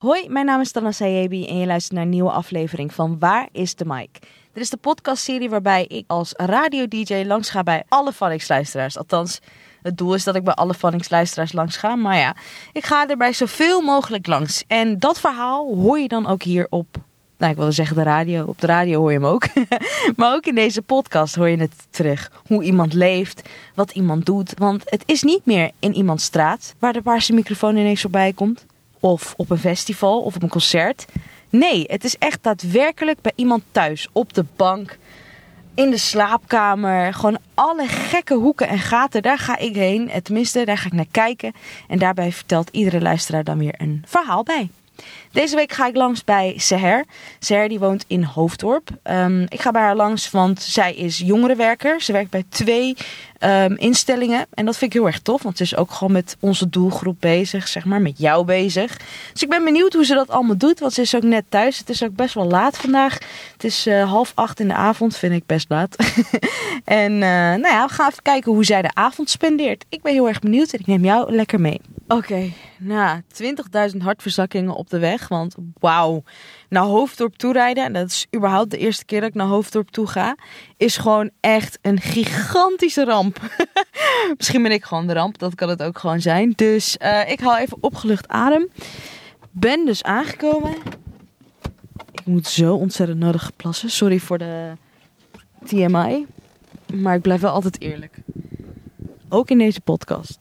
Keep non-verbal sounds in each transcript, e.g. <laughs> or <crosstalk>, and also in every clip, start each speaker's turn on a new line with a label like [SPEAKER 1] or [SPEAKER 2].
[SPEAKER 1] Hoi, mijn naam is Tana Sayebi en je luistert naar een nieuwe aflevering van Waar is de Mic? Dit is de podcastserie waarbij ik als radio-dj langs ga bij alle Phonics-luisteraars. Althans, het doel is dat ik bij alle Phonics-luisteraars langs ga. Maar ja, ik ga er bij zoveel mogelijk langs. En dat verhaal hoor je dan ook hier op... Nou, ik wilde zeggen de radio. Op de radio hoor je hem ook. <laughs> maar ook in deze podcast hoor je het terug. Hoe iemand leeft, wat iemand doet. Want het is niet meer in iemands straat waar de paarse microfoon ineens voorbij komt of op een festival of op een concert. Nee, het is echt daadwerkelijk bij iemand thuis, op de bank, in de slaapkamer. Gewoon alle gekke hoeken en gaten, daar ga ik heen. Eh, Tenminste, daar ga ik naar kijken. En daarbij vertelt iedere luisteraar dan weer een verhaal bij. Deze week ga ik langs bij Seher. Seher die woont in Hoofddorp. Ehm, ik ga bij haar langs, want zij is jongerenwerker. Ze werkt bij twee ehm, instellingen. En dat vind ik heel erg tof, want ze is ook gewoon met onze doelgroep bezig, zeg maar, met jou bezig. Dus ik ben benieuwd hoe ze dat allemaal doet, want ze is ook net thuis. Het is ook best wel laat vandaag. Het is eh, half acht in de avond, vind ik best laat. <laughs> en eh, nou ja, we gaan even kijken hoe zij de avond spendeert. Ik ben heel erg benieuwd en ik neem jou lekker mee. Oké, nou, 20.000 hartverzakkingen op de weg, want wauw. Naar Hoofddorp toe rijden, en dat is überhaupt de eerste keer dat ik naar Hoofddorp toe ga, is gewoon echt een gigantische ramp. <laughs> Misschien ben ik gewoon de ramp, dat kan het ook gewoon zijn. Dus eh, ik haal even opgelucht adem. Ben dus aangekomen. Ik moet zo ontzettend nodig plassen. Sorry voor de TMI. Maar ik blijf wel altijd eerlijk. Ook in deze podcast.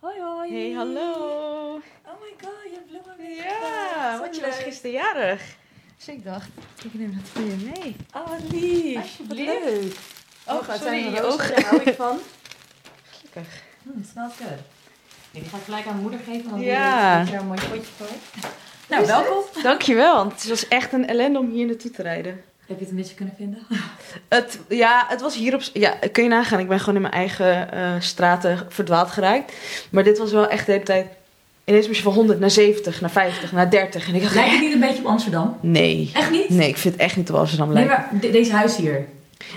[SPEAKER 2] Hoi hoi.
[SPEAKER 1] Hey, hallo.
[SPEAKER 2] Oh my god, je hebt bloemen weer.
[SPEAKER 1] Ja, want je was gisteren jarig. Dus ik dacht, ik neem dat voor je mee.
[SPEAKER 2] Oh, wat lief.
[SPEAKER 1] Alsjeblieft.
[SPEAKER 2] Wat leuk.
[SPEAKER 1] Oh,
[SPEAKER 2] het
[SPEAKER 1] sorry,
[SPEAKER 2] zijn
[SPEAKER 1] je
[SPEAKER 2] rozen,
[SPEAKER 1] ogen.
[SPEAKER 2] Daar hou ik van.
[SPEAKER 1] Gelukkig.
[SPEAKER 2] Hm, smaakt goed. Nee, die ga ik gelijk aan moeder geven, want
[SPEAKER 1] Ja.
[SPEAKER 2] die heeft er een mooi potje voor. Nou,
[SPEAKER 1] Is
[SPEAKER 2] welkom.
[SPEAKER 1] <laughs> Dankjewel, want het was echt een ellende om hier naartoe te rijden.
[SPEAKER 2] Heb je het een beetje kunnen vinden?
[SPEAKER 1] Het, ja, het was hier op... Ja, kun je nagaan. Ik ben gewoon in mijn eigen eh, straten verdwaald geraakt. Maar dit was wel echt de hele tijd... Ineens moest je van 100 naar 70, naar 50, naar 30. En ik dacht...
[SPEAKER 2] Lijkt het niet een beetje op Amsterdam?
[SPEAKER 1] Nee.
[SPEAKER 2] Echt niet?
[SPEAKER 1] Nee, ik vind het echt niet hoe Amsterdam
[SPEAKER 2] Nee,
[SPEAKER 1] lijkt.
[SPEAKER 2] maar de- deze huis hier.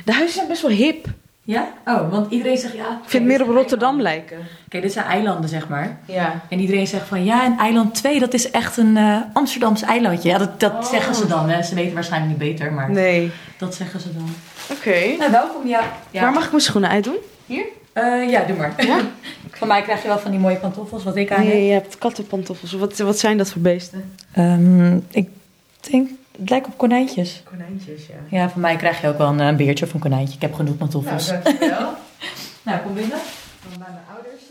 [SPEAKER 1] De huizen zijn best wel hip.
[SPEAKER 2] Ja? Oh, want iedereen zegt ja.
[SPEAKER 1] Ik vind het meer op Rotterdam lijken.
[SPEAKER 2] Oké, dit zijn eilanden, zeg maar.
[SPEAKER 1] Ja.
[SPEAKER 2] En iedereen zegt van ja, en eiland 2, dat is echt een eh Amsterdams eilandje. Ja, dat, dat
[SPEAKER 1] Oh.
[SPEAKER 2] zeggen ze dan. Hè. Ze weten waarschijnlijk niet beter, maar
[SPEAKER 1] Nee.
[SPEAKER 2] dat zeggen ze dan.
[SPEAKER 1] Oké.
[SPEAKER 2] Nou, welkom, ja. ja.
[SPEAKER 1] Waar mag ik mijn schoenen uitdoen?
[SPEAKER 2] Eh, ja, doe maar. <laughs>
[SPEAKER 1] Ja.
[SPEAKER 2] Van mij krijg je wel van die mooie pantoffels, wat ik aan heb.
[SPEAKER 1] Nee, je hebt kattenpantoffels. Wat, wat zijn dat voor beesten?
[SPEAKER 2] Ehm, ik denk, het lijkt op konijntjes.
[SPEAKER 1] Konijntjes, ja.
[SPEAKER 2] Ja, van mij krijg je ook wel een, eh, beertje of een konijntje. Ik heb genoeg pantoffels. <laughs>
[SPEAKER 1] dankjewel.
[SPEAKER 2] Nou, kom binnen. Van bij mijn ouders.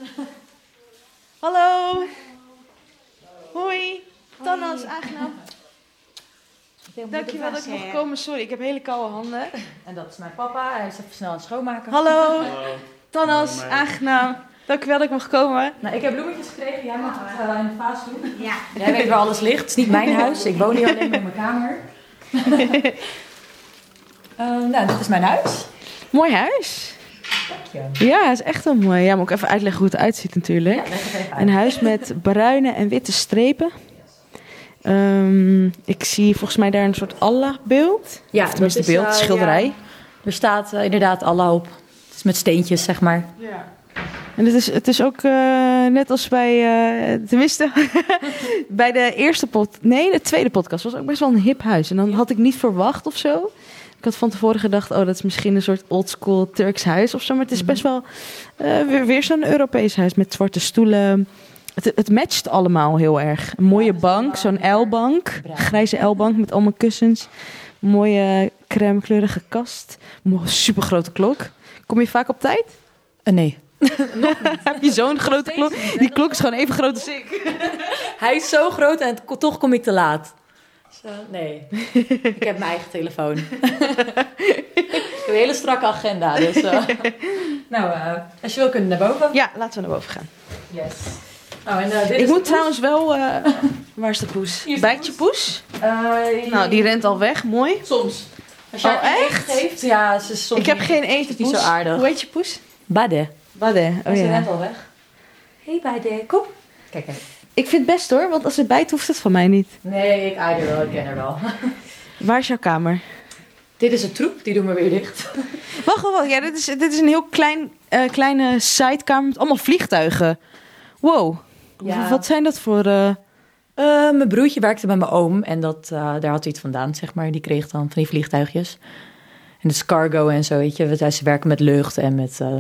[SPEAKER 1] Hallo. Hoi. Tanna is aangenaam. Dankjewel dat ik mocht komen. Sorry, ik heb hele koude handen.
[SPEAKER 2] En dat is mijn papa, hij is even snel aan het schoonmaken.
[SPEAKER 1] Hallo.
[SPEAKER 3] Hallo.
[SPEAKER 1] Tannas,
[SPEAKER 3] Hoi, meid.
[SPEAKER 1] aangenaam. Dankjewel dat ik mag komen.
[SPEAKER 2] Nou, ik heb bloemetjes gekregen, jij mag het eh, in de vaas doen.
[SPEAKER 1] Ja.
[SPEAKER 2] Jij weet waar alles ligt, het is niet mijn huis, ik woon hier alleen maar in mijn kamer.
[SPEAKER 1] <laughs>
[SPEAKER 2] Eh, nou, dit is mijn huis.
[SPEAKER 1] Mooi huis.
[SPEAKER 2] Dank je.
[SPEAKER 1] Ja, is echt een mooi. Ja, moet ik even uitleggen hoe het uitziet natuurlijk.
[SPEAKER 2] Ja, leg het even uit.
[SPEAKER 1] Een huis met bruine en witte strepen. Ehm, ik zie volgens mij daar een soort Allah-beeld.
[SPEAKER 2] Ja,
[SPEAKER 1] Of tenminste beeld, schilderij.
[SPEAKER 2] Er staat eh, inderdaad Allah op. Het is met steentjes, zeg maar.
[SPEAKER 1] En het is, het is ook eh, net als bij, eh, tenminste, <laughs> bij de eerste pod, nee, de tweede podcast was ook best wel een hip huis. En dan had ik niet verwacht of zo. Ik had van tevoren gedacht, oh, dat is misschien een soort oldschool Turks huis of zo. Maar het is best wel eh, weer, weer zo'n Europees huis met zwarte stoelen. Het, het matcht allemaal heel erg. Een mooie
[SPEAKER 2] Ja, dus
[SPEAKER 1] bank, zo'n L-bank,
[SPEAKER 2] Bruin.
[SPEAKER 1] grijze L-bank met allemaal kussens. Een mooie crème kleurige kast. Een supergrote klok. Kom je vaak op tijd?
[SPEAKER 2] nee.
[SPEAKER 1] Heb je zo'n grote klok? Die klok is gewoon even groot als ik.
[SPEAKER 2] Hij is zo groot en t- toch kom ik te laat. Zo, nee. ik heb mijn eigen telefoon. ik heb een hele strakke agenda,
[SPEAKER 1] <laughs>
[SPEAKER 2] dus... eh. nou, eh, als je wil kunnen naar boven.
[SPEAKER 1] Ja, laten we naar boven gaan.
[SPEAKER 2] Yes. Oh, en, eh, dit
[SPEAKER 1] ik
[SPEAKER 2] is
[SPEAKER 1] moet
[SPEAKER 2] de poes.
[SPEAKER 1] trouwens wel... eh, waar is de poes?
[SPEAKER 2] Hier is de
[SPEAKER 1] Bijt je poes?
[SPEAKER 2] Eh,
[SPEAKER 1] Nou, die rent al weg. Mooi.
[SPEAKER 2] Soms. Als
[SPEAKER 1] Oh,
[SPEAKER 2] haar geen
[SPEAKER 1] echt?
[SPEAKER 2] eten geeft, ja, ze is soms
[SPEAKER 1] ik heb
[SPEAKER 2] niet-
[SPEAKER 1] geen eten
[SPEAKER 2] niet
[SPEAKER 1] poes.
[SPEAKER 2] zo aardig.
[SPEAKER 1] Hoe heet je poes?
[SPEAKER 2] Bade.
[SPEAKER 1] Badde.
[SPEAKER 2] Oh,
[SPEAKER 1] Oh
[SPEAKER 2] ze rent
[SPEAKER 1] ja.
[SPEAKER 2] al weg. Hey, Bade, kom. Kijk, hè.
[SPEAKER 1] Ik vind het best hoor, want als het bijt hoeft het van mij niet.
[SPEAKER 2] Nee, ik aarde wel, ik ken haar wel. <laughs>
[SPEAKER 1] Waar is jouw kamer?
[SPEAKER 2] Dit is een troep, die doen we weer dicht.
[SPEAKER 1] Wacht, wacht, wacht. Ja, dit is, dit is een heel klein, eh, kleine sidekamer met allemaal vliegtuigen. Wow,
[SPEAKER 2] Ja.
[SPEAKER 1] wat zijn dat voor... eh,
[SPEAKER 2] Eh, mijn broertje werkte bij mijn oom en dat, eh, daar had hij het vandaan, zeg maar. Die kreeg dan van die vliegtuigjes. En dus cargo en zo, weet je. Want Ze werken met lucht en met eh,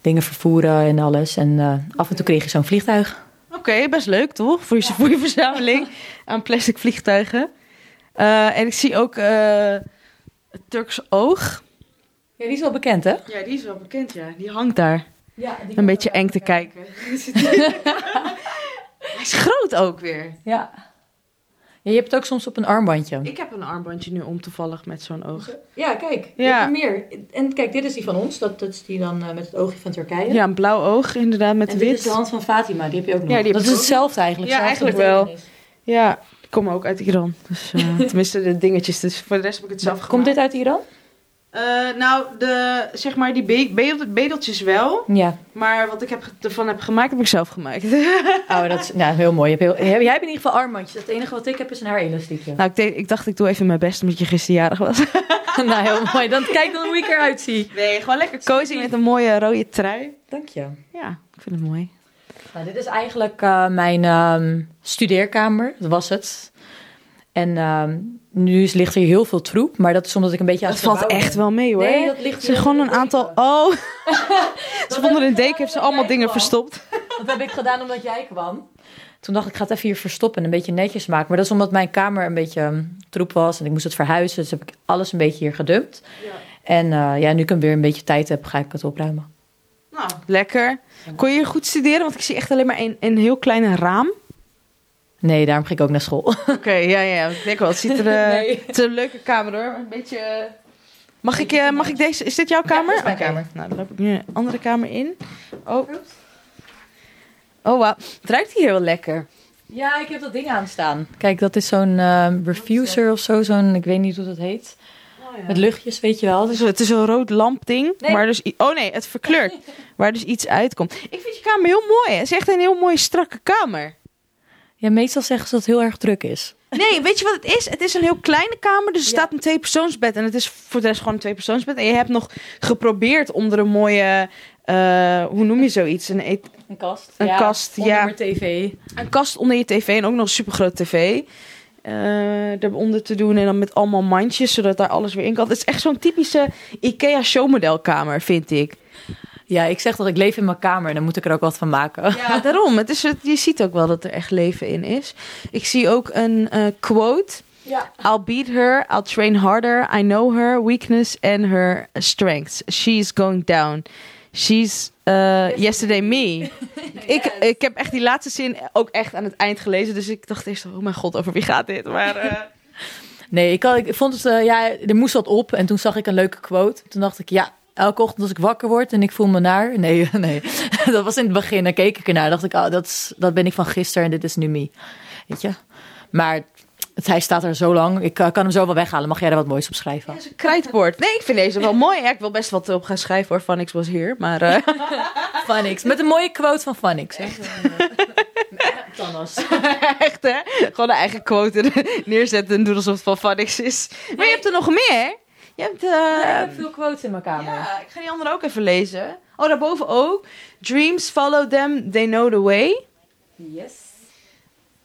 [SPEAKER 2] dingen vervoeren en alles. En eh, af en toe kreeg je zo'n vliegtuig.
[SPEAKER 1] Oké, best leuk toch? Voor je, voor je verzameling aan plastic vliegtuigen. Eh, en ik zie ook eh, het Turks oog.
[SPEAKER 2] Ja, die is wel bekend, hè?
[SPEAKER 1] Ja, die is wel bekend, ja. Die hangt daar.
[SPEAKER 2] Ja,
[SPEAKER 1] Een beetje eng te kijken. Hij <laughs> is groot ook weer.
[SPEAKER 2] Ja. Ja, Je hebt het ook soms op een armbandje.
[SPEAKER 1] Ik heb een armbandje nu om toevallig met zo'n oog.
[SPEAKER 2] Ja, kijk.
[SPEAKER 1] je Ja. hebt
[SPEAKER 2] meer. En kijk, dit is die van ons. Dat, is die dan eh, met het oogje van Turkije.
[SPEAKER 1] Ja, een blauw oog inderdaad met
[SPEAKER 2] En dit is
[SPEAKER 1] wit.
[SPEAKER 2] de hand van Fatima, die heb je ook nog.
[SPEAKER 1] Ja, die heb
[SPEAKER 2] dat
[SPEAKER 1] ik
[SPEAKER 2] is
[SPEAKER 1] ook.
[SPEAKER 2] hetzelfde eigenlijk.
[SPEAKER 1] Ja,
[SPEAKER 2] zelfde
[SPEAKER 1] eigenlijk wel.
[SPEAKER 2] betekenis.
[SPEAKER 1] Ja, ik kom ook uit Iran. Dus, eh, <laughs> tenminste, de dingetjes. Dus voor de rest heb ik het zelf
[SPEAKER 2] Komt
[SPEAKER 1] gemaakt.
[SPEAKER 2] dit uit Iran?
[SPEAKER 1] Eh, nou, de, zeg maar, die be- bedel- bedeltjes wel.
[SPEAKER 2] Ja.
[SPEAKER 1] Maar wat ik heb ge- ervan heb gemaakt, heb ik zelf gemaakt. <laughs>
[SPEAKER 2] Oh, <laughs> dat is nou, heel mooi. Je hebt heel- jij hebt in ieder geval armbandjes. Het enige wat ik heb is een <laughs> haarelastiekje.
[SPEAKER 1] nou, ik, denk- ik dacht, ik doe even mijn best omdat je gisteren jarig was.
[SPEAKER 2] Nou, heel mooi. Dan kijk dan hoe ik eruit zie.
[SPEAKER 1] Nee, <laughs> gewoon lekker cozy met een mooie rode trui.
[SPEAKER 2] Dank je.
[SPEAKER 1] Ja, ik vind het mooi.
[SPEAKER 2] Nou, dit is eigenlijk eh, mijn ehm, studeerkamer. Dat was het. En ehm, nu is, ligt hier heel veel troep. Maar dat is omdat ik een beetje aan
[SPEAKER 1] Dat
[SPEAKER 2] het
[SPEAKER 1] valt
[SPEAKER 2] verbouwen
[SPEAKER 1] echt wel mee hoor.
[SPEAKER 2] ben. Nee, dat ligt
[SPEAKER 1] Ze hebben gewoon een aantal. <laughs> Oh, ze vonden een deken, heeft ze allemaal dingen
[SPEAKER 2] verstopt.
[SPEAKER 1] verstopt.
[SPEAKER 2] Dat heb ik gedaan omdat jij kwam. Toen dacht ik, ik ga het even hier verstoppen en een beetje netjes maken. Maar dat is omdat mijn kamer een beetje ehm, troep was en ik moest het verhuizen. Dus heb ik alles een beetje hier gedumpt. En eh, ja, nu ik hem weer een beetje tijd heb, ga ik het opruimen.
[SPEAKER 1] Nou, lekker. Kon je hier goed studeren? Want ik zie echt alleen maar een, een heel klein <laughs> raam.
[SPEAKER 2] Nee, daarom ging ik ook naar school.
[SPEAKER 1] Oké, ja, ja, ik denk wel. Het, ziet er, <laughs> eh,
[SPEAKER 2] <laughs> Nee.
[SPEAKER 1] het is een leuke kamer hoor. maar Een beetje. eh, Mag ik, eh, mag ik deze? Is dit jouw kamer?
[SPEAKER 2] dit is mijn
[SPEAKER 1] Oké.
[SPEAKER 2] kamer.
[SPEAKER 1] Nou, dan loop ik nu een andere kamer in. Oh. Oh, wauw. Het ruikt hier heel lekker.
[SPEAKER 2] Ja, ik heb dat ding aanstaan. Kijk, dat is zo'n ehm, refuser of zo. Zo'n, ik weet niet hoe dat heet. Met luchtjes, weet je wel.
[SPEAKER 1] Het
[SPEAKER 2] Dus
[SPEAKER 1] is, het is een rood lampding,
[SPEAKER 2] Nee.
[SPEAKER 1] maar dus... i- Oh nee, het <laughs> verkleurt. waar dus iets uitkomt. Ik vind je kamer heel mooi. hè. Het is echt een heel mooie, strakke kamer.
[SPEAKER 2] ja, meestal zeggen ze dat het heel erg druk is.
[SPEAKER 1] Nee, weet je wat het is? Het is een heel kleine kamer, dus er
[SPEAKER 2] Ja.
[SPEAKER 1] staat een tweepersoonsbed. En het is voor de rest gewoon een tweepersoonsbed. En je hebt nog geprobeerd onder een mooie... eh, hoe noem je zoiets? Een, et-
[SPEAKER 2] Een kast.
[SPEAKER 1] Een kast, ja.
[SPEAKER 2] Onder tv.
[SPEAKER 1] een kast onder je tv en ook nog een supergrote tv. eh eronder te doen en dan met allemaal mandjes, zodat daar alles weer in kan. Het is echt zo'n typische IKEA showmodelkamer, vind ik.
[SPEAKER 2] Ja, ik zeg dat ik leef in mijn kamer. Dan moet ik er ook wat van maken.
[SPEAKER 1] Ja, daarom. Het is, het- je ziet ook wel dat er echt leven in is. Ik zie ook een eh, quote.
[SPEAKER 2] Ja.
[SPEAKER 1] I'll beat her, I'll train harder. I know her weakness and her strengths. She's going down. She's eh, yesterday me. <laughs> ik, ik heb echt die laatste zin ook echt aan het eind gelezen. Dus ik dacht eerst, oh mijn god, over wie gaat dit? Maar <laughs> eh,
[SPEAKER 2] Nee, ik, had- ik vond het, eh, ja, er moest wat op. En toen zag ik een leuke quote. Toen dacht ik, ja, elke ochtend als ik wakker word en ik voel me naar. <laughs> Nee, nee. Dat was in het begin. Dan keek ik ernaar. dacht ik, oh, dat, is, dat ben ik van gisteren en dit is nu me. Weet je? Maar het, hij staat er zo lang. Ik eh, kan hem zo wel weghalen. Mag jij er wat moois op schrijven?
[SPEAKER 1] het is een krijtbord. Nee, ik vind deze wel mooi. Ja, ik wil best wat op gaan schrijven hoor, van X was hier. Maar eh,
[SPEAKER 2] Phonics. Met een mooie quote van Phonics. hè? <laughs> Thanos.
[SPEAKER 1] <laughs> Echt, hè? Gewoon een eigen quote <laughs> er- neerzetten en doen alsof het van Fannix is. Maar je hebt er nog meer. Je hebt... eh,
[SPEAKER 2] Ja, ik heb veel quotes in mijn kamer.
[SPEAKER 1] ja, ik ga die andere ook even lezen. Oh, daarboven ook. Dreams follow them, they know the way.
[SPEAKER 2] Yes.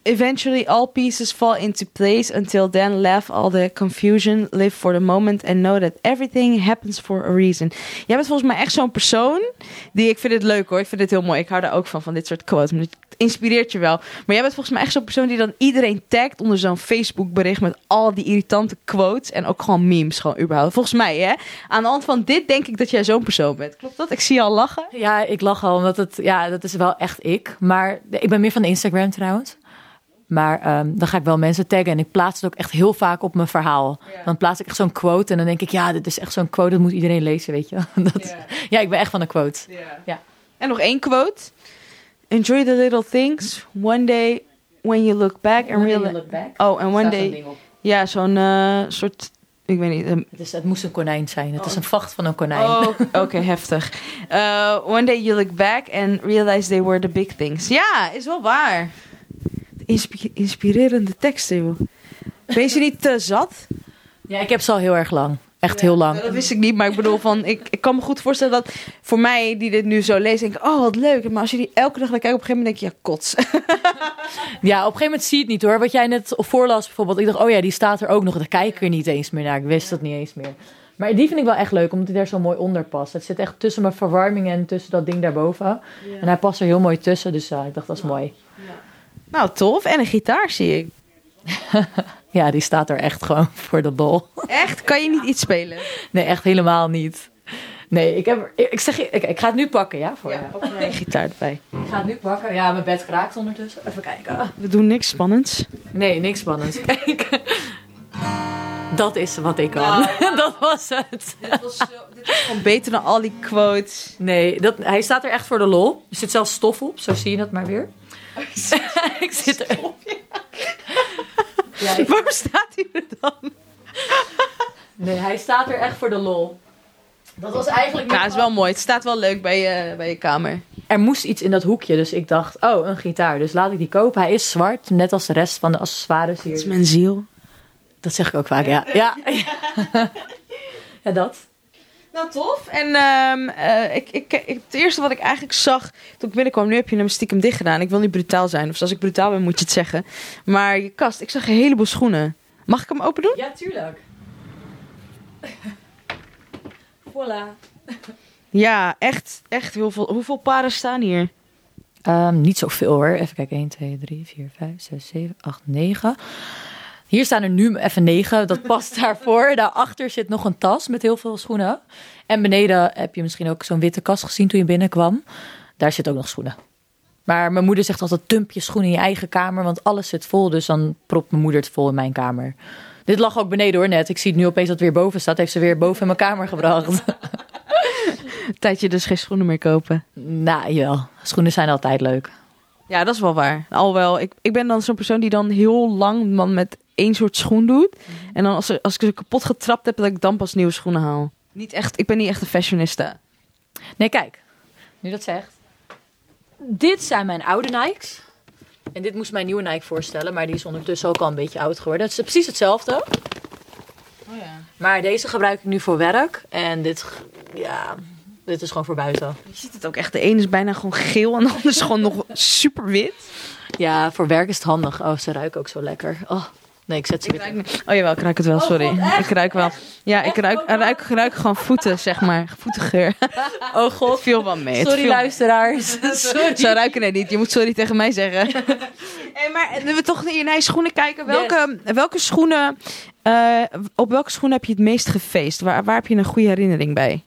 [SPEAKER 1] Eventually all pieces fall into place. Until then, laugh all the confusion, live for the moment and know that everything happens for a reason. Jij bent volgens mij echt zo'n persoon die ik vind het leuk hoor. Ik vind het heel mooi. Ik hou daar ook van, van dit soort quotes. Want Het inspireert je wel. Maar jij bent volgens mij echt zo'n persoon die dan iedereen tagt onder zo'n Facebook bericht met al die irritante quotes en ook gewoon memes gewoon überhaupt. Volgens mij hè. Aan de hand van dit denk ik dat jij zo'n persoon bent. Klopt dat? Ik zie je al lachen.
[SPEAKER 2] Ja, ik lach al, omdat het, ja, dat is wel echt ik. Maar ik ben meer van Instagram trouwens. Maar ehm, dan ga ik wel mensen taggen en ik plaats het ook echt heel vaak op mijn verhaal. Dan plaats ik echt zo'n quote en dan denk ik, ja, dit is echt zo'n quote, dat moet iedereen lezen, weet je. <laughs> Dat, Ja, ik ben echt van een quote. Ja.
[SPEAKER 1] En nog één quote. Enjoy the little things. One day when you look back and realize... Oh, en one day... Ja, zo'n eh, soort... Ik weet niet. een-
[SPEAKER 2] Het, is, het moest een konijn zijn, het is een vacht van een konijn.
[SPEAKER 1] oh, <laughs> oké, heftig. Eh, one day you look back and realize they were the big things. Ja, is wel waar. Inspi- inspirerende teksten, joh. Wees je niet te zat?
[SPEAKER 2] Ja, ik heb ze al heel erg lang. Echt heel lang.
[SPEAKER 1] Dat wist ik niet, maar ik bedoel van, ik, ik kan me goed voorstellen dat voor mij die dit nu zo leest, denk ik, oh wat leuk. Maar als je die elke dag naar kijkt, op een gegeven moment denk je, ja kots.
[SPEAKER 2] Ja, op een gegeven moment zie je het niet hoor. Wat jij net voorlas bijvoorbeeld. Ik dacht, oh ja, die staat er ook nog. Daar kijk ik er niet eens meer naar. Ik wist dat niet eens meer. Maar die vind ik wel echt leuk, omdat hij daar zo mooi onder past. Het zit echt tussen mijn verwarming en tussen dat ding daarboven. En hij past er heel mooi tussen, dus eh, ik dacht, dat is mooi.
[SPEAKER 1] Nou, tof. En een gitaar zie ik.
[SPEAKER 2] Ja, die staat er echt gewoon <laughs> voor de bol.
[SPEAKER 1] Echt? Kan je niet iets spelen?
[SPEAKER 2] Nee, echt helemaal niet. Nee, ik, heb, ik, ik zeg, je- ik, ik ga het nu pakken, ja? Voor je.
[SPEAKER 1] ook een gitaar erbij.
[SPEAKER 2] Ik ga het nu pakken. Ja, mijn bed kraakt ondertussen. Even kijken.
[SPEAKER 1] We doen niks spannends.
[SPEAKER 2] Nee, niks spannends. <laughs> Kijk. Dat is wat ik kan. <laughs> Dat was het.
[SPEAKER 1] Dit was, gewoon beter dan al die <laughs> quotes.
[SPEAKER 2] Nee, dat, hij staat er echt voor de lol. Er zit zelfs stof op, zo zie je dat maar <laughs> weer. ik zit er. Ja, ik-
[SPEAKER 1] Waarom staat hij er dan?
[SPEAKER 2] nee, hij staat er echt voor de lol. Dat was eigenlijk.
[SPEAKER 1] Ja,
[SPEAKER 2] nog-
[SPEAKER 1] Nou, is wel mooi. Het staat wel leuk bij je, bij je kamer.
[SPEAKER 2] Er moest iets in dat hoekje, dus ik dacht, oh, een gitaar. Dus laat ik die kopen. Hij is zwart, net als de rest van de accessoires hier.
[SPEAKER 1] mijn ziel.
[SPEAKER 2] Dat zeg ik ook vaak, ja. Ja, ja. <laughs> ja dat.
[SPEAKER 1] Nou, tof. En ehm, eh, ik, ik, ik- het eerste wat ik eigenlijk zag toen ik binnenkwam, nu heb je hem stiekem dicht gedaan. Ik wil niet brutaal zijn, of als ik brutaal ben moet je het zeggen. Maar je kast, ik zag een heleboel schoenen. Mag ik hem open doen?
[SPEAKER 2] Ja, tuurlijk. <laughs> voilà.
[SPEAKER 1] Ja, echt, echt heel veel. Hoeveel paren staan hier?
[SPEAKER 2] Ehm, niet zoveel hoor. Even kijken. 1, 2, 3, 4, 5, 6, 7, 8, 9. Hier staan er nu even 9. Dat past <laughs> daarvoor. Daarachter zit nog een tas met heel veel schoenen. En beneden heb je misschien ook zo'n witte kast gezien toen je binnenkwam. Daar zit ook nog schoenen. Maar mijn moeder zegt altijd: dump je schoenen in je eigen kamer, want alles zit vol. Dus dan propt mijn moeder het vol in mijn kamer. Dit lag ook beneden hoor net. Ik zie het nu opeens dat het weer boven staat. Heeft ze weer boven in mijn kamer gebracht. <laughs>
[SPEAKER 1] Tijdje dus geen schoenen meer kopen.
[SPEAKER 2] nou, jawel. Schoenen zijn altijd leuk.
[SPEAKER 1] Ja, dat is wel waar. Alhoewel, ik, ik ben dan zo'n persoon die dan heel lang man met één soort schoen doet.
[SPEAKER 2] Mhm.
[SPEAKER 1] En dan als, er- als ik ze kapot getrapt heb, dat ik dan pas nieuwe schoenen haal. Niet echt, ik ben niet echt een fashionista.
[SPEAKER 2] Nee, kijk. Nu dat zegt. Dit zijn mijn oude Nikes. En dit moest mijn nieuwe Nike voorstellen, maar die is ondertussen ook al een beetje oud geworden. Het is precies hetzelfde,
[SPEAKER 1] Oh ja.
[SPEAKER 2] maar deze gebruik ik nu voor werk. En dit, g- ja, dit is gewoon voor buiten.
[SPEAKER 1] Je ziet het ook echt. De ene is bijna gewoon geel en de andere is gewoon nog super wit.
[SPEAKER 2] Ja, voor werk is het handig. Oh, ze ruiken ook zo lekker. Oh, nee, ik zet ze weer.
[SPEAKER 1] Oh jawel, ik ruik het wel,
[SPEAKER 2] Oh,
[SPEAKER 1] sorry.
[SPEAKER 2] God, echt?
[SPEAKER 1] ik ruik wel. Ja, ik ruik, ruik, ruik gewoon voeten, zeg maar. Voetengeur.
[SPEAKER 2] Oh god,
[SPEAKER 1] Het viel wel mee. het
[SPEAKER 2] sorry
[SPEAKER 1] viel-
[SPEAKER 2] luisteraars. <laughs>
[SPEAKER 1] <laughs>
[SPEAKER 2] Sorry.
[SPEAKER 1] Zo ruiken het niet. Je moet sorry tegen mij <laughs> zeggen. hey, maar nu we toch naar je schoenen kijken. Welke, welke schoenen, eh, op welke schoenen heb je het meest gefeest? Waar, waar heb je een goede herinnering bij?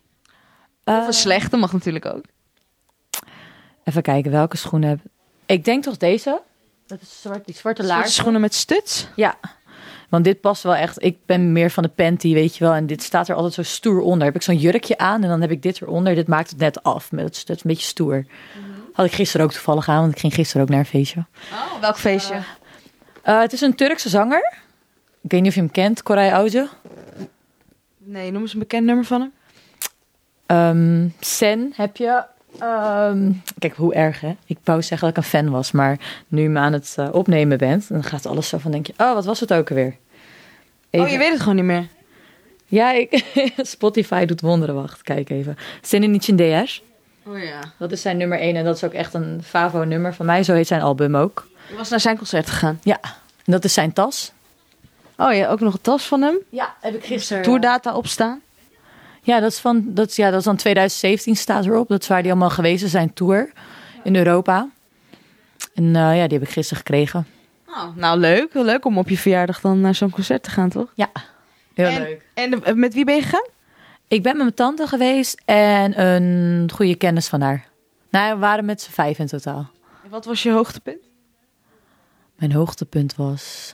[SPEAKER 1] of
[SPEAKER 2] Eh,
[SPEAKER 1] een slechte mag natuurlijk ook.
[SPEAKER 2] even kijken welke schoenen heb ik. denk toch deze? Dat is zwart, die zwarte
[SPEAKER 1] Zwarte
[SPEAKER 2] laars.
[SPEAKER 1] schoenen met stuts?
[SPEAKER 2] Ja, want dit past wel echt. Ik ben meer van de panty, weet je wel. En dit staat er altijd zo stoer onder. Heb ik zo'n jurkje aan en dan heb ik dit eronder. Dit maakt het net af. Maar Dat is, dat is een beetje stoer.
[SPEAKER 1] Mhm.
[SPEAKER 2] Had ik gisteren ook toevallig aan, want ik ging gisteren ook naar een feestje.
[SPEAKER 1] Oh, welk feestje?
[SPEAKER 2] Eh, het is een Turkse zanger. Ik weet niet of je hem kent, Koray Auze.
[SPEAKER 1] nee, noem eens een bekend nummer van hem.
[SPEAKER 2] Ehm, Sen heb je. Ehm, kijk, hoe erg hè? Ik wou zeggen dat ik een fan was, maar nu je me aan het eh, opnemen bent, dan gaat alles zo van denk je, oh, wat was het ook alweer?
[SPEAKER 1] Oh, je weet het gewoon niet meer.
[SPEAKER 2] Ja, ik, <laughs> Spotify doet wonderen. Wacht, kijk even. Zinnen niet in DS.
[SPEAKER 1] Oh ja.
[SPEAKER 2] Dat is zijn nummer 1 en dat is ook echt een Favo-nummer van mij. Zo heet zijn album ook.
[SPEAKER 1] Je was naar zijn concert gegaan.
[SPEAKER 2] Ja, en dat is zijn tas.
[SPEAKER 1] Oh ja, ook nog een tas van hem.
[SPEAKER 2] Ja, heb ik
[SPEAKER 1] eh,
[SPEAKER 2] gisteren.
[SPEAKER 1] Tourdata opstaan.
[SPEAKER 2] Ja, dat is, van, dat, is- ja, dat is dan 2017 staat erop. Dat is waar die allemaal geweest zijn, tour in Europa. En eh, ja, die heb ik gisteren gekregen.
[SPEAKER 1] Nou, leuk. Leuk om op je verjaardag dan naar zo'n concert te gaan, toch?
[SPEAKER 2] Ja, heel
[SPEAKER 1] en,
[SPEAKER 2] leuk.
[SPEAKER 1] En eh, met wie ben je gegaan?
[SPEAKER 2] Ik ben met mijn tante geweest en een goede kennis van haar. Nou, we waren met z'n vijf in totaal.
[SPEAKER 1] Wat was je hoogtepunt?
[SPEAKER 2] Mijn hoogtepunt was.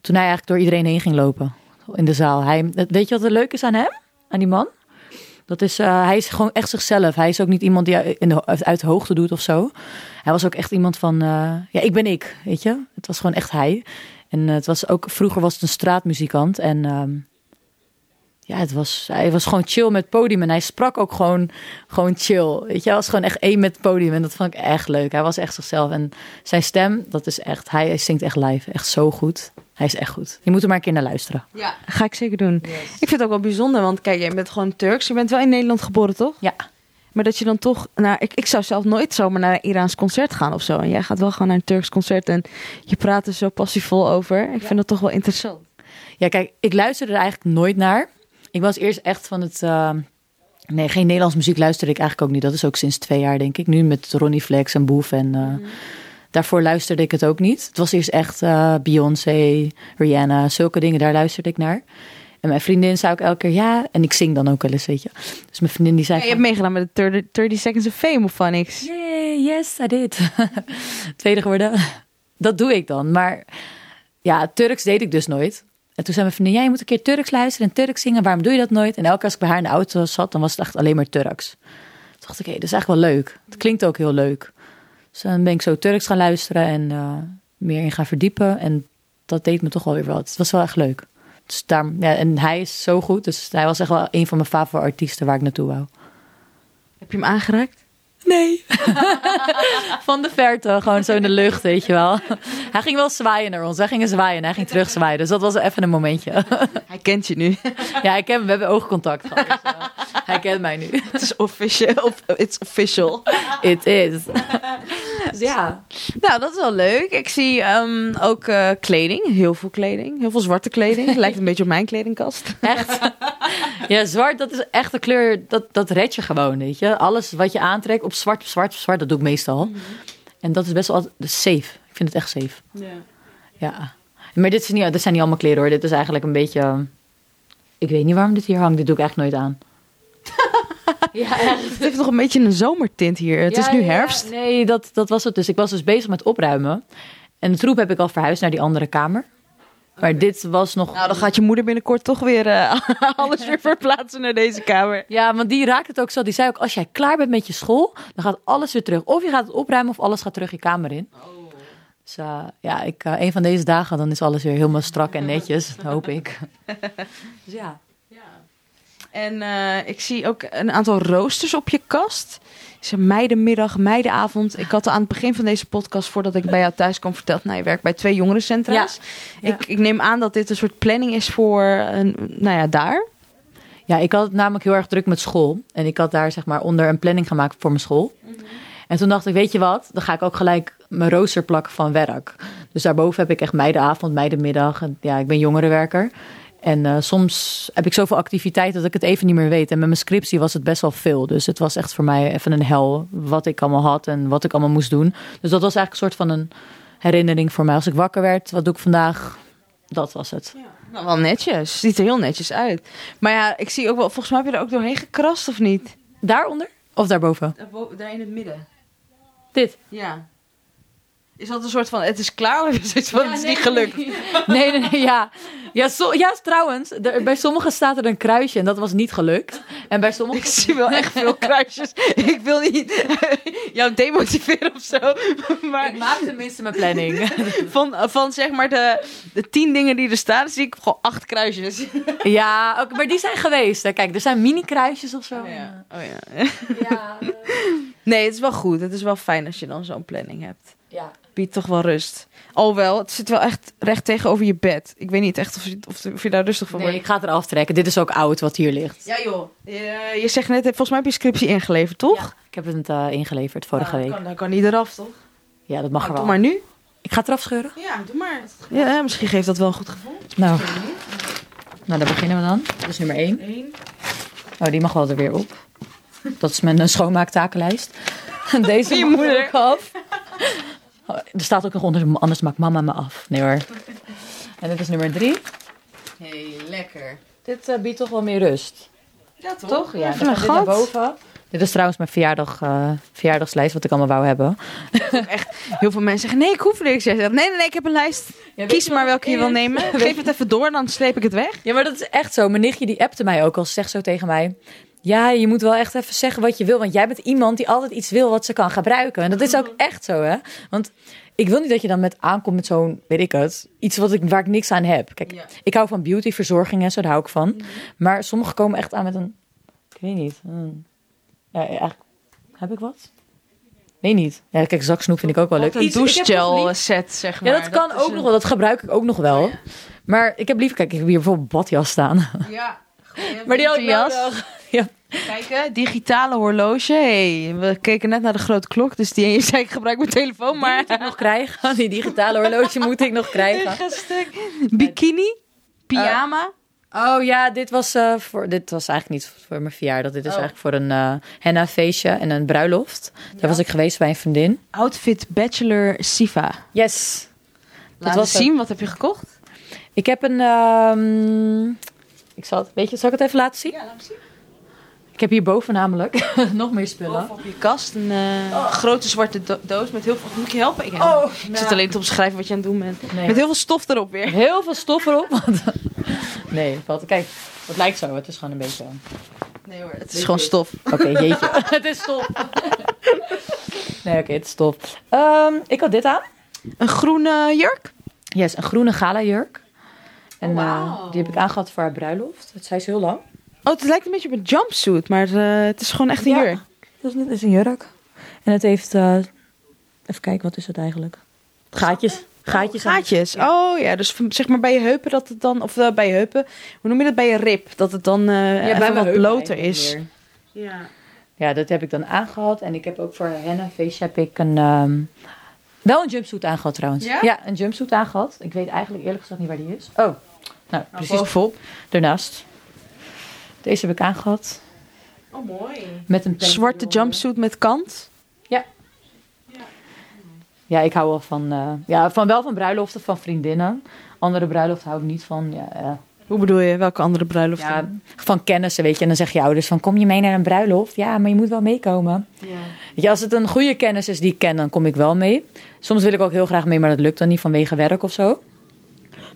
[SPEAKER 2] toen hij eigenlijk door iedereen heen ging lopen. In de zaal. Hij, weet je wat er leuk is aan hem? Aan die man? Dat is, eh, hij is gewoon echt zichzelf. Hij is ook niet iemand die in de, uit de hoogte doet of zo. Hij was ook echt iemand van. eh, ja, ik ben ik. Weet je? Het was gewoon echt hij. En eh, het was ook. Vroeger was het een straatmuzikant. En. ehm, ja, het was, hij was gewoon chill met het podium. En hij sprak ook gewoon, gewoon chill. Weet je, hij was gewoon echt één met het podium. En dat vond ik echt leuk. Hij was echt zichzelf. En zijn stem, dat is echt... Hij zingt echt live. Echt zo goed. Hij Hij is echt goed. Je moet er maar een keer naar luisteren.
[SPEAKER 1] Ja. Ga ik zeker doen. Ik vind het ook wel bijzonder, want kijk, jij bent gewoon Turks. Je bent wel in Nederland geboren, toch?
[SPEAKER 2] Ja.
[SPEAKER 1] Maar dat je dan toch naar. Ik, ik zou zelf nooit zomaar naar een Iraans concert gaan of zo. En jij gaat wel gewoon naar een Turks concert en je praat er zo passievol over. Ik vind dat toch wel interessant.
[SPEAKER 2] Ja, kijk, ik luisterde er eigenlijk nooit naar. Ik was eerst echt van het... eh, nee, geen Nederlands muziek luisterde ik eigenlijk ook niet. Dat is ook sinds twee jaar, denk ik. Nu met Ronnie Flex en Boef en... eh,
[SPEAKER 1] Mhm.
[SPEAKER 2] Daarvoor luisterde ik het ook niet. Het was eerst echt eh, Beyoncé, Rihanna, zulke dingen. Daar luisterde ik naar. En mijn vriendin zei ook elke keer ja. En ik zing dan ook wel eens, weet je. Dus mijn vriendin die zei...
[SPEAKER 1] Ja, je hebt meegedaan met de 30, 30 Seconds of Fame of van niks.
[SPEAKER 2] Yay, yes, I did. <laughs> Tweede geworden. Dat doe ik dan. Maar ja, Turks deed ik dus nooit. En toen zei mijn vriendin, jij moet een keer Turks luisteren en Turks zingen. Waarom doe je dat nooit? En elke keer als ik bij haar in de auto zat, dan was het echt alleen maar Turks. Toen dacht ik, hé, dat is echt wel leuk. Het klinkt ook heel leuk. Dus dan ben ik zo Turks gaan luisteren en eh, meer in gaan verdiepen. En dat deed me toch wel weer wat. Het was wel echt leuk. Dus daar, ja, en hij is zo goed. Dus hij was echt wel een van mijn favoriete artiesten waar ik naartoe wou.
[SPEAKER 1] Heb je hem aangeraakt?
[SPEAKER 2] Nee. Van de verte, gewoon zo in de lucht, weet je wel. Hij ging wel zwaaien naar ons. Hij ging zwaaien, hij ging terugzwaaien. Dus dat was even een momentje.
[SPEAKER 1] Hij kent je <laughs> nu.
[SPEAKER 2] Ja, ik heb hem, we hebben oogcontact gehad. dus, eh, hij kent mij nu.
[SPEAKER 1] Het is official. Of, it's official.
[SPEAKER 2] It is. Dus ja.
[SPEAKER 1] Nou, dat is wel leuk. Ik zie ehm, ook eh, kleding. Heel veel kleding. Heel veel zwarte <laughs> kleding. Lijkt een beetje op mijn kledingkast.
[SPEAKER 2] Echt. Ja, zwart, dat is echt een kleur, dat, dat red je gewoon, weet je. Alles wat je aantrekt op zwart, op zwart, op zwart, dat doe ik meestal. En dat is best wel altijd- dat is safe. Ik vind het echt safe.
[SPEAKER 1] Ja.
[SPEAKER 2] Ja. Maar dit, is niet, dit zijn niet allemaal kleren hoor. Dit is eigenlijk een beetje... eh, Ik weet niet waarom dit hier hangt. Dit doe ik echt nooit aan. ja, echt.
[SPEAKER 1] Het heeft nog een beetje een zomertint hier. Het is nu herfst.
[SPEAKER 2] nee, dat, dat was het dus. Ik was dus bezig met opruimen. En de troep heb ik al verhuisd naar die andere kamer. Maar dit was nog...
[SPEAKER 1] Nou, dan gaat je moeder binnenkort toch weer eh, <laughs> alles weer verplaatsen naar deze kamer.
[SPEAKER 2] Ja, want die raakte het ook zo. Die zei ook, als jij klaar bent met je school, dan gaat alles weer terug. Of je gaat het opruimen, of alles gaat terug je kamer in.
[SPEAKER 1] Oh.
[SPEAKER 2] Dus eh, ja, ik, eh, een van deze dagen, dan is alles weer helemaal strak en netjes. Dat hoop
[SPEAKER 1] <laughs>
[SPEAKER 2] ik. Dus ja.
[SPEAKER 1] En eh, ik zie ook een aantal roosters op je kast. Het is een meidenmiddag, meidenavond. Ik had al aan het begin van deze podcast, voordat ik bij jou thuis kwam, verteld... Nou, je werkt bij twee jongerencentra's.
[SPEAKER 2] Ja.
[SPEAKER 1] Ik, ik neem aan dat dit een soort planning is voor, een, nou ja, daar.
[SPEAKER 2] Ja, ik had het namelijk heel erg druk met school. En ik had daar zeg maar onder een planning gemaakt voor mijn school. En toen dacht ik, weet je wat, dan ga ik ook gelijk mijn rooster plakken van werk. Dus daarboven heb ik echt meidenavond, meidenmiddag. En ja, ik ben jongerenwerker. En eh, soms heb ik zoveel activiteit dat ik het even niet meer weet. En met mijn scriptie was het best wel veel. Dus het was echt voor mij even een hel wat ik allemaal had en wat ik allemaal moest doen. Dus dat was eigenlijk een soort van een herinnering voor mij. Als ik wakker werd, wat doe ik vandaag? Dat was het.
[SPEAKER 1] Nou, wel netjes. Ziet er heel netjes uit. Maar ja, ik zie ook wel... Volgens mij heb je er ook doorheen gekrast, of niet?
[SPEAKER 2] Daaronder of daarboven?
[SPEAKER 1] Eh, Daar in het midden.
[SPEAKER 2] Dit.
[SPEAKER 1] Ja. Is dat een soort van, het is klaar of is iets van, het is niet
[SPEAKER 2] <laughs>
[SPEAKER 1] gelukt?
[SPEAKER 2] Nee, nee, nee, ja. Ja, so- ja trouwens, er- bij sommigen staat er een kruisje en dat was niet gelukt. En bij
[SPEAKER 1] Ik
[SPEAKER 2] <laughs> sommigen...
[SPEAKER 1] zie wel echt veel kruisjes. Ik wil niet <laughs> jou demotiveren of zo. <laughs> Maar
[SPEAKER 2] maak tenminste mijn planning.
[SPEAKER 1] van, van zeg maar de, de tien dingen die er staan, zie ik gewoon acht kruisjes.
[SPEAKER 2] <laughs> Ja, ook, maar die zijn geweest. Hè. Kijk, er zijn mini-kruisjes of zo.
[SPEAKER 1] Oh, ja. <laughs>
[SPEAKER 2] ja.
[SPEAKER 1] Nee, het is wel goed. Het is wel fijn als je dan zo'n planning hebt.
[SPEAKER 2] ja.
[SPEAKER 1] Biedt toch wel rust. Alhoewel, het zit wel echt recht tegenover je bed. Ik weet niet echt of je, of, of je daar rustig van
[SPEAKER 2] Nee,
[SPEAKER 1] wordt.
[SPEAKER 2] ik ga het eraf trekken. Dit is ook oud wat hier ligt.
[SPEAKER 1] Ja joh. Eh, Je, je zegt net, volgens mij heb je scriptie ingeleverd, toch?
[SPEAKER 2] Ik heb het eh, ingeleverd vorige
[SPEAKER 1] Nou,
[SPEAKER 2] week.
[SPEAKER 1] Kan, dan kan die eraf, toch?
[SPEAKER 2] Ja, dat mag er
[SPEAKER 1] Nou,
[SPEAKER 2] wel.
[SPEAKER 1] doe maar nu.
[SPEAKER 2] Ik ga het eraf scheuren.
[SPEAKER 1] Ja, doe maar. Ja, misschien geeft dat wel een goed gevoel.
[SPEAKER 2] Nou. nou, daar beginnen we dan. Dat is nummer één.
[SPEAKER 1] Eén.
[SPEAKER 2] Oh, die mag wel er weer op. Dat is mijn eh, schoonmaaktakenlijst. <laughs> En Deze
[SPEAKER 1] Je
[SPEAKER 2] mag er
[SPEAKER 1] moeder.
[SPEAKER 2] ook af. Oh, Er staat ook nog onder, anders maakt mama me af. Nee hoor. En dit is nummer drie.
[SPEAKER 1] Hey, lekker.
[SPEAKER 2] Dit eh, biedt toch wel meer rust.
[SPEAKER 1] Ja, toch?
[SPEAKER 2] Toch? Ja,
[SPEAKER 1] Even
[SPEAKER 2] dan
[SPEAKER 1] een
[SPEAKER 2] gaat dit
[SPEAKER 1] gat.
[SPEAKER 2] naar boven. Dit is trouwens mijn verjaardag, eh, verjaardagslijst, wat ik allemaal wou hebben.
[SPEAKER 1] Heel veel mensen zeggen, nee, ik hoef niks. Jij zegt, nee, nee, nee, ik heb een lijst. Kies maar welke je wil nemen. Geef het even door, dan sleep ik het weg.
[SPEAKER 2] Ja, maar dat is echt zo. Mijn nichtje die appte mij ook al. Ze zegt zo tegen mij. Ja, je moet wel echt even zeggen wat je wil. Want jij bent iemand die altijd iets wil wat ze kan gebruiken. En dat is
[SPEAKER 1] Oh.
[SPEAKER 2] ook echt zo, hè? Want ik wil niet dat je dan met aankomt met zo'n, weet ik het, iets wat ik, waar ik niks aan heb. Kijk,
[SPEAKER 1] Ja.
[SPEAKER 2] ik hou van beauty, verzorging en zo, daar hou ik van.
[SPEAKER 1] Mm-hmm.
[SPEAKER 2] Maar sommigen komen echt aan met een, ik weet niet. een- ja, eigenlijk, heb ik wat? Nee, niet. Ja, kijk, zaksnoep vind ik ook wel leuk.
[SPEAKER 1] Wat een
[SPEAKER 2] Iets- ik heb nog
[SPEAKER 1] douchegel
[SPEAKER 2] lief-
[SPEAKER 1] set, zeg maar.
[SPEAKER 2] Ja, dat kan
[SPEAKER 1] is
[SPEAKER 2] ook
[SPEAKER 1] een-
[SPEAKER 2] nog wel. Dat gebruik ik ook nog wel. Maar ik heb liever... Kijk, ik heb hier bijvoorbeeld badjas staan.
[SPEAKER 1] Ja. Goeie
[SPEAKER 2] Maar die had ik
[SPEAKER 1] jas.
[SPEAKER 2] nodig.
[SPEAKER 1] Kijk, hè, digitale horloge. Hey, we keken net naar de grote klok, dus die <laughs> je zei ik gebruik mijn telefoon, maar...
[SPEAKER 2] Moet ik <laughs> nog krijgen. <laughs> Die digitale horloge moet ik nog krijgen.
[SPEAKER 1] <laughs> Bikini, pyjama.
[SPEAKER 2] Oh ja, dit was, eh, voor, dit was eigenlijk niet voor mijn verjaardag. Dit is
[SPEAKER 1] Oh.
[SPEAKER 2] eigenlijk voor een eh henna feestje en een bruiloft. Daar was ik geweest bij een vriendin.
[SPEAKER 1] Outfit Bachelor Siva.
[SPEAKER 2] Yes.
[SPEAKER 1] Laat
[SPEAKER 2] was
[SPEAKER 1] was zien, wat heb je gekocht?
[SPEAKER 2] Ik heb een... ehm, ik zal het, weet je, zal ik het even laten zien?
[SPEAKER 1] Ja, laat me zien.
[SPEAKER 2] Ik heb hierboven namelijk <laughs> nog meer spullen.
[SPEAKER 1] Boven op je kast een eh, grote zwarte do- doos met heel veel... Moet ik je helpen? Ik, ik zit alleen te omschrijven wat je aan het doen bent.
[SPEAKER 2] Nee.
[SPEAKER 1] Met heel veel stof erop weer.
[SPEAKER 2] Heel veel stof erop. want- nee, valt, kijk, het lijkt zo. Het is gewoon een beetje...
[SPEAKER 1] Nee hoor, <laughs> het
[SPEAKER 2] Weet
[SPEAKER 1] is gewoon
[SPEAKER 2] je.
[SPEAKER 1] stof.
[SPEAKER 2] Oké, jeetje. <laughs> het is stof. nee, oké, het is stof. Ehm, ik had dit aan.
[SPEAKER 1] Een groene jurk?
[SPEAKER 2] Yes, een groene galajurk. En
[SPEAKER 1] Oh,
[SPEAKER 2] eh,
[SPEAKER 1] wauw.
[SPEAKER 2] die heb ik aangehad voor haar bruiloft. Het zij is heel lang.
[SPEAKER 1] Oh, het lijkt een beetje op een jumpsuit, maar eh, het is gewoon echt een
[SPEAKER 2] Ja.
[SPEAKER 1] jurk.
[SPEAKER 2] Dus dit is een jurk. En het heeft... eh, even kijken, wat is het eigenlijk? Gaatjes. Gaatjes. aan-
[SPEAKER 1] Gaatjes. Oh ja, dus van- zeg maar bij je heupen dat het dan... Of eh, bij je heupen, hoe noem je dat? Bij je rib. Dat het dan eh
[SPEAKER 2] Ja,
[SPEAKER 1] even
[SPEAKER 2] bij mijn
[SPEAKER 1] wat
[SPEAKER 2] heup
[SPEAKER 1] bloter
[SPEAKER 2] eigenlijk
[SPEAKER 1] is.
[SPEAKER 2] meer.
[SPEAKER 1] Ja.
[SPEAKER 2] Ja, dat heb ik dan aangehad. En ik heb ook voor Henna Feestje heb ik een... ehm, wel een jumpsuit aangehad trouwens.
[SPEAKER 1] Ja?
[SPEAKER 2] een jumpsuit aangehad. Ik weet eigenlijk eerlijk gezegd niet waar die is. Oh, nou precies.
[SPEAKER 1] bovenop.
[SPEAKER 2] Daarnaast. Deze heb ik aangehad.
[SPEAKER 1] Oh, mooi.
[SPEAKER 2] Met een pink
[SPEAKER 1] Zwarte
[SPEAKER 2] eronder.
[SPEAKER 1] jumpsuit met kant.
[SPEAKER 2] Ja, ik hou wel van, eh, ja, van wel van bruiloften van vriendinnen. Andere bruiloften hou ik niet van. Ja, eh,
[SPEAKER 1] Hoe bedoel je? Welke andere bruiloft?
[SPEAKER 2] ja, van kennissen, weet je. En dan zeg je ouders van, kom je mee naar een bruiloft? Ja, maar je moet wel meekomen. Weet je, als het een goede kennis is die ik ken, dan kom ik wel mee. Soms wil ik ook heel graag mee, maar dat lukt dan niet vanwege werk of zo.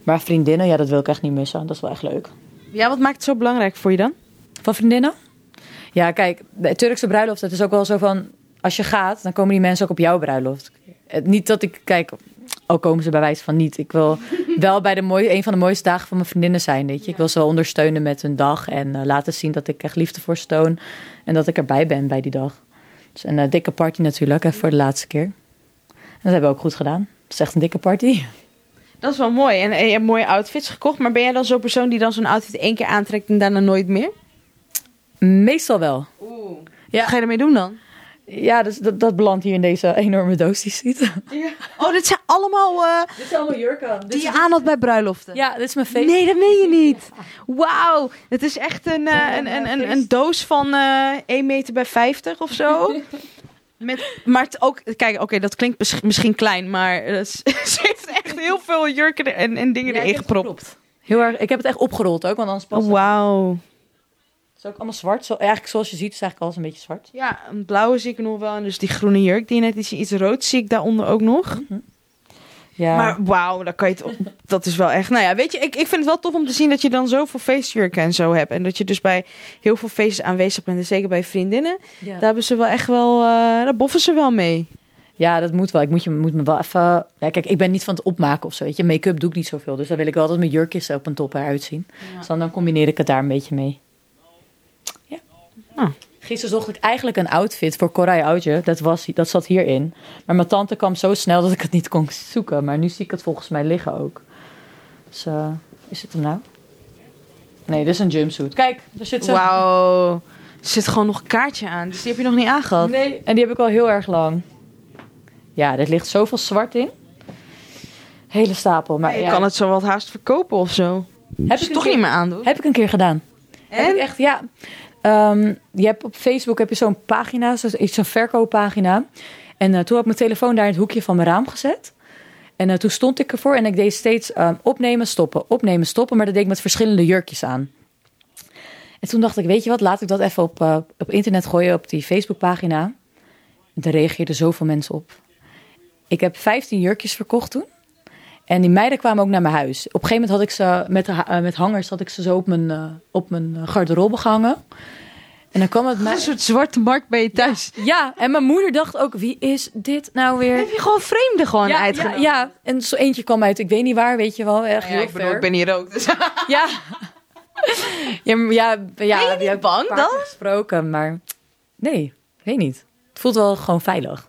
[SPEAKER 2] Maar vriendinnen, ja, dat wil ik echt niet missen. Dat is wel echt leuk.
[SPEAKER 1] Ja, wat maakt het zo belangrijk voor je dan?
[SPEAKER 2] Van vriendinnen? Ja, kijk, de Turkse bruiloft, dat is ook wel zo van... Als je gaat, dan komen die mensen ook op jouw bruiloft. Eh, Niet dat ik, kijk, al komen ze bij wijze van niet. Ik <laughs> wil wel bij de mooie, een van de mooiste dagen van mijn vriendinnen zijn, weet je. Ik wil ze wel ondersteunen met hun dag en eh, laten zien dat ik echt liefde voor ze toon. En dat ik erbij ben bij die dag. Dus een eh, dikke party natuurlijk, hè, voor de laatste keer. En dat hebben we ook goed gedaan. Het is echt een dikke party.
[SPEAKER 1] Dat is wel mooi. En, en je hebt mooie outfits gekocht. Maar ben jij dan zo'n persoon die dan zo'n outfit één keer aantrekt en daarna nooit meer?
[SPEAKER 2] Meestal wel.
[SPEAKER 1] Oeh.
[SPEAKER 2] Ja.
[SPEAKER 1] Wat ga je ermee doen dan?
[SPEAKER 2] Ja, dus dat, dat belandt hier in deze enorme doos die je ziet.
[SPEAKER 1] Oh, dit zijn allemaal eh,
[SPEAKER 2] Dit zijn allemaal jurken.
[SPEAKER 1] die je aan had bij bruiloften.
[SPEAKER 2] Ja, dit is mijn feest.
[SPEAKER 1] Nee, dat meen je niet. Wauw. Het is echt een, eh, een, een, een, een doos van eh 1 meter bij 50 of <laughs> zo. Met, maar het ook, kijk, oké, dat klinkt mis- misschien klein, maar <laughs> er z- zit echt heel veel jurken er- en, en dingen
[SPEAKER 2] Ja, ik
[SPEAKER 1] erin
[SPEAKER 2] heb het
[SPEAKER 1] gepropt.
[SPEAKER 2] gepropt. Heel erg, ik heb het echt opgerold ook, want anders past
[SPEAKER 1] Oh, wauw.
[SPEAKER 2] het. Het is ook allemaal zwart. Zo, eigenlijk zoals je ziet is eigenlijk alles een beetje zwart.
[SPEAKER 1] Ja, een blauwe zie ik nog wel. En dus die groene jurk die je net iets, iets rood zie ik daaronder ook nog.
[SPEAKER 2] Ja.
[SPEAKER 1] Maar wauw, daar kan je het op- <laughs> dat is wel echt. Nou ja, weet je, ik, ik vind het wel tof om te zien dat je dan zoveel feestjurken en zo hebt. En dat je dus bij heel veel feestjes aanwezig bent. En zeker bij vriendinnen.
[SPEAKER 2] ja.
[SPEAKER 1] Daar hebben ze wel echt wel, eh, daar boffen ze wel mee.
[SPEAKER 2] Ja, dat moet wel. Ik moet, je, moet me wel even... Ja, kijk, ik ben niet van het opmaken of zo, weet je. Make-up doe ik niet zoveel. Dus dan wil ik wel dat mijn jurkjes op een top eruit zien. Dus dan, dan combineer ik het daar een beetje mee. Ja.
[SPEAKER 1] Ah.
[SPEAKER 2] Gisteren zocht ik eigenlijk een outfit voor Corai Oudje. Dat, was, dat zat hierin. Maar mijn tante kwam zo snel dat ik het niet kon zoeken. Maar nu zie ik het volgens mij liggen ook. Dus, eh, is het hem nou? Nee, dit is een jumpsuit. Kijk, daar zit ze.
[SPEAKER 1] Wauw. Er zit gewoon nog een kaartje aan. Dus die heb je nog niet aangehad.
[SPEAKER 2] Nee, en die heb ik al heel erg lang. Ja, er ligt zoveel zwart in. Hele stapel. Maar
[SPEAKER 1] Je
[SPEAKER 2] ja,
[SPEAKER 1] kan het zo wat haast verkopen of zo.
[SPEAKER 2] heb,
[SPEAKER 1] Dus
[SPEAKER 2] ik
[SPEAKER 1] toch
[SPEAKER 2] een
[SPEAKER 1] niet
[SPEAKER 2] keer,
[SPEAKER 1] meer aandoen.
[SPEAKER 2] heb ik een keer gedaan. Heb ik echt, ja. Ehm, je hebt op Facebook heb je zo'n pagina, zo- iets- zo'n verkooppagina. En eh, toen had ik mijn telefoon daar in het hoekje van mijn raam gezet. En eh, toen stond ik ervoor en ik deed steeds ehm, opnemen, stoppen, opnemen, stoppen. Maar dat deed ik met verschillende jurkjes aan. En toen dacht ik, weet je wat, laat ik dat even op, eh, op internet gooien, op die Facebookpagina. Daar reageerden zoveel mensen op. Ik heb 15 jurkjes verkocht toen. En die meiden kwamen ook naar mijn huis. Op een gegeven moment had ik ze met, de ha- eh, met hangers had ik ze zo op mijn, eh, op mijn garderobe gehangen. En dan kwam het
[SPEAKER 1] Een
[SPEAKER 2] mij.
[SPEAKER 1] soort zwarte markt bij je thuis.
[SPEAKER 2] Ja, en mijn moeder dacht ook: wie is dit nou weer?
[SPEAKER 1] Heb je gewoon vreemden gewoon
[SPEAKER 2] ja, ja,
[SPEAKER 1] uitgenodigd?
[SPEAKER 2] ja, en zo eentje kwam uit, ik weet niet waar, weet je wel. Echt
[SPEAKER 1] Ja,
[SPEAKER 2] heel
[SPEAKER 1] ik bedoel,
[SPEAKER 2] ver.
[SPEAKER 1] ik ben hier ook. Dus
[SPEAKER 2] Ja. Ja, maar ja, ja
[SPEAKER 1] je
[SPEAKER 2] die
[SPEAKER 1] niet
[SPEAKER 2] heb ik
[SPEAKER 1] bang
[SPEAKER 2] een paar
[SPEAKER 1] dan?
[SPEAKER 2] keer gesproken, maar nee, ik weet niet. Het voelt wel gewoon veilig.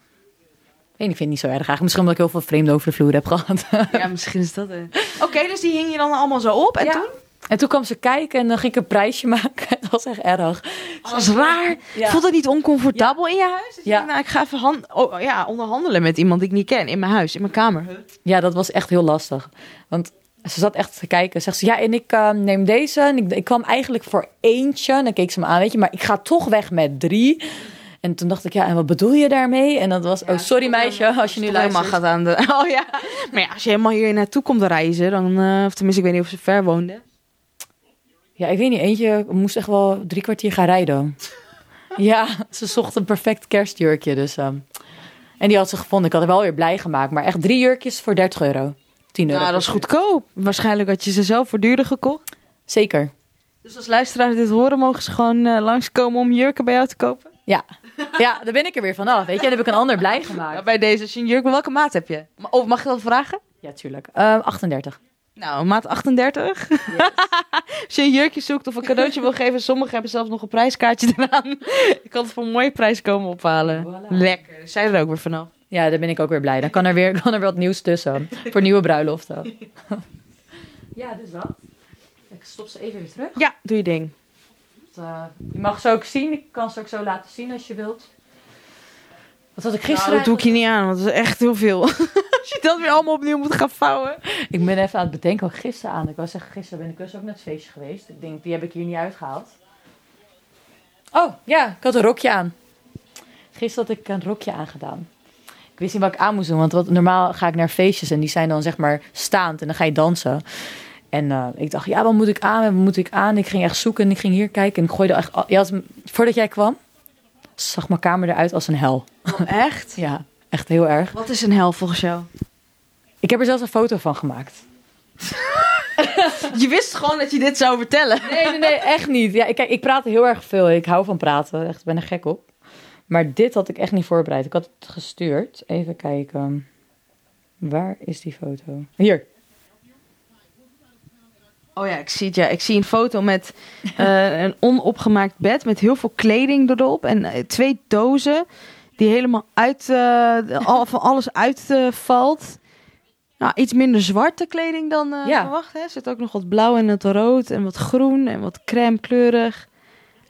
[SPEAKER 2] weet niet, ik vind het niet zo erg eigenlijk. Misschien omdat ik heel veel vreemden over de vloer heb gehad.
[SPEAKER 1] Ja, misschien is dat het. Oké, dus die hing je dan allemaal zo op. En
[SPEAKER 2] Ja.
[SPEAKER 1] toen?
[SPEAKER 2] En toen kwam ze kijken en dan ging ik een prijsje <laughs> maken. Dat was echt erg.
[SPEAKER 1] Oh, Dat was raar.
[SPEAKER 2] Ja.
[SPEAKER 1] Voelt dat niet oncomfortabel in je huis? Dus je
[SPEAKER 2] Ja.
[SPEAKER 1] denkt, nou, ik ga even hand- oh, ja, onderhandelen met iemand die ik niet ken. In mijn huis, in mijn kamer.
[SPEAKER 2] Ja, dat was echt heel lastig. Want ze zat echt te kijken. Zegt ze, ja, en ik eh, neem deze. En ik, ik kwam eigenlijk voor eentje. En dan keek ze me aan, weet je. Maar ik ga toch weg met drie. En toen dacht ik, ja, en wat bedoel je daarmee? En dat was,
[SPEAKER 1] Ja,
[SPEAKER 2] oh, sorry meisje, als je nu
[SPEAKER 1] Toch helemaal
[SPEAKER 2] luistert.
[SPEAKER 1] gaat aan de... <laughs> Oh ja. Maar ja, als je helemaal hier naartoe komt reizen, dan... eh, of tenminste, ik weet niet of ze ver woonde.
[SPEAKER 2] Ja, ik weet niet, eentje moest echt wel drie kwartier gaan <laughs> rijden. ja, ze zocht een perfect kerstjurkje, dus... ehm, en die had ze gevonden. Ik had haar wel weer blij gemaakt. Maar echt drie jurkjes voor 30 euro. 10 euro.
[SPEAKER 1] Nou, dat is goedkoop. Waarschijnlijk had je ze zelf voor duurder gekocht.
[SPEAKER 2] Zeker.
[SPEAKER 1] Dus als luisteraars dit horen, mogen ze gewoon eh, langskomen om jurken bij jou te kopen.
[SPEAKER 2] Ja. ja, daar ben ik er weer vanaf. Weet je, dan heb ik een ander blij gemaakt.
[SPEAKER 1] Ja, bij deze, als je een jurk wil, welke maat heb je? Ma- Oh, mag ik dat vragen?
[SPEAKER 2] Ja, tuurlijk. Ehm, 38.
[SPEAKER 1] Nou, maat 38. <laughs> Als je een jurkje zoekt of een cadeautje wil geven, sommigen hebben zelfs nog een prijskaartje eraan. <laughs> Ik kan het voor een mooie prijs komen ophalen.
[SPEAKER 2] Voilà.
[SPEAKER 1] Lekker. Zij er ook weer vanaf.
[SPEAKER 2] Ja, daar ben ik ook weer blij. Dan kan er weer, kan er wat nieuws tussen. Voor nieuwe bruiloften. <laughs> Ja, dus dat. Ik stop ze even weer terug.
[SPEAKER 1] Ja, doe je ding.
[SPEAKER 2] eh, je mag ze ook zien. Ik kan ze ook zo laten zien als je wilt. Wat had ik
[SPEAKER 1] Nou,
[SPEAKER 2] gisteren?
[SPEAKER 1] dat doe ik je niet aan, want dat is echt heel veel. <laughs> Als je dat weer allemaal opnieuw moet gaan vouwen.
[SPEAKER 2] Ik ben even aan het bedenken wat ik gisteren aan. Ik was zeggen, gisteren ben ik dus ook naar het feestje geweest. Ik denk, die heb ik hier niet uitgehaald. Oh, ja, ik had een rokje aan. Gisteren had ik een rokje aangedaan. Ik wist niet wat ik aan moest doen, want wat, normaal ga ik naar feestjes en die zijn dan zeg maar staand en dan ga je dansen. En eh, ik dacht, ja, wat moet ik aan? Wat moet ik aan? Ik ging echt zoeken en ik ging hier kijken en ik gooide echt... al- Ja, als- voordat jij kwam, zag mijn kamer eruit als een hel.
[SPEAKER 1] echt?
[SPEAKER 2] Ja, echt heel erg.
[SPEAKER 1] Wat is een hel volgens jou?
[SPEAKER 2] Ik heb er zelfs een foto van gemaakt.
[SPEAKER 1] Je wist gewoon dat je dit zou vertellen.
[SPEAKER 2] Nee, nee, nee, echt niet. Ja, ik, kijk, ik praat heel erg veel. Ik hou van praten. Echt, ik ben er gek op. Maar dit had ik echt niet voorbereid. Ik had het gestuurd. Even kijken. Waar is die foto? Hier.
[SPEAKER 1] Oh ja, ik zie het ja. Ik zie een foto met eh, een onopgemaakt bed met heel veel kleding erop. En eh, twee dozen die helemaal uit, eh, al, van alles uitvalt. nou, iets minder zwarte kleding dan eh,
[SPEAKER 2] Ja.
[SPEAKER 1] verwacht. Hè? Er zit ook nog wat blauw en wat rood en wat groen en wat crème kleurig.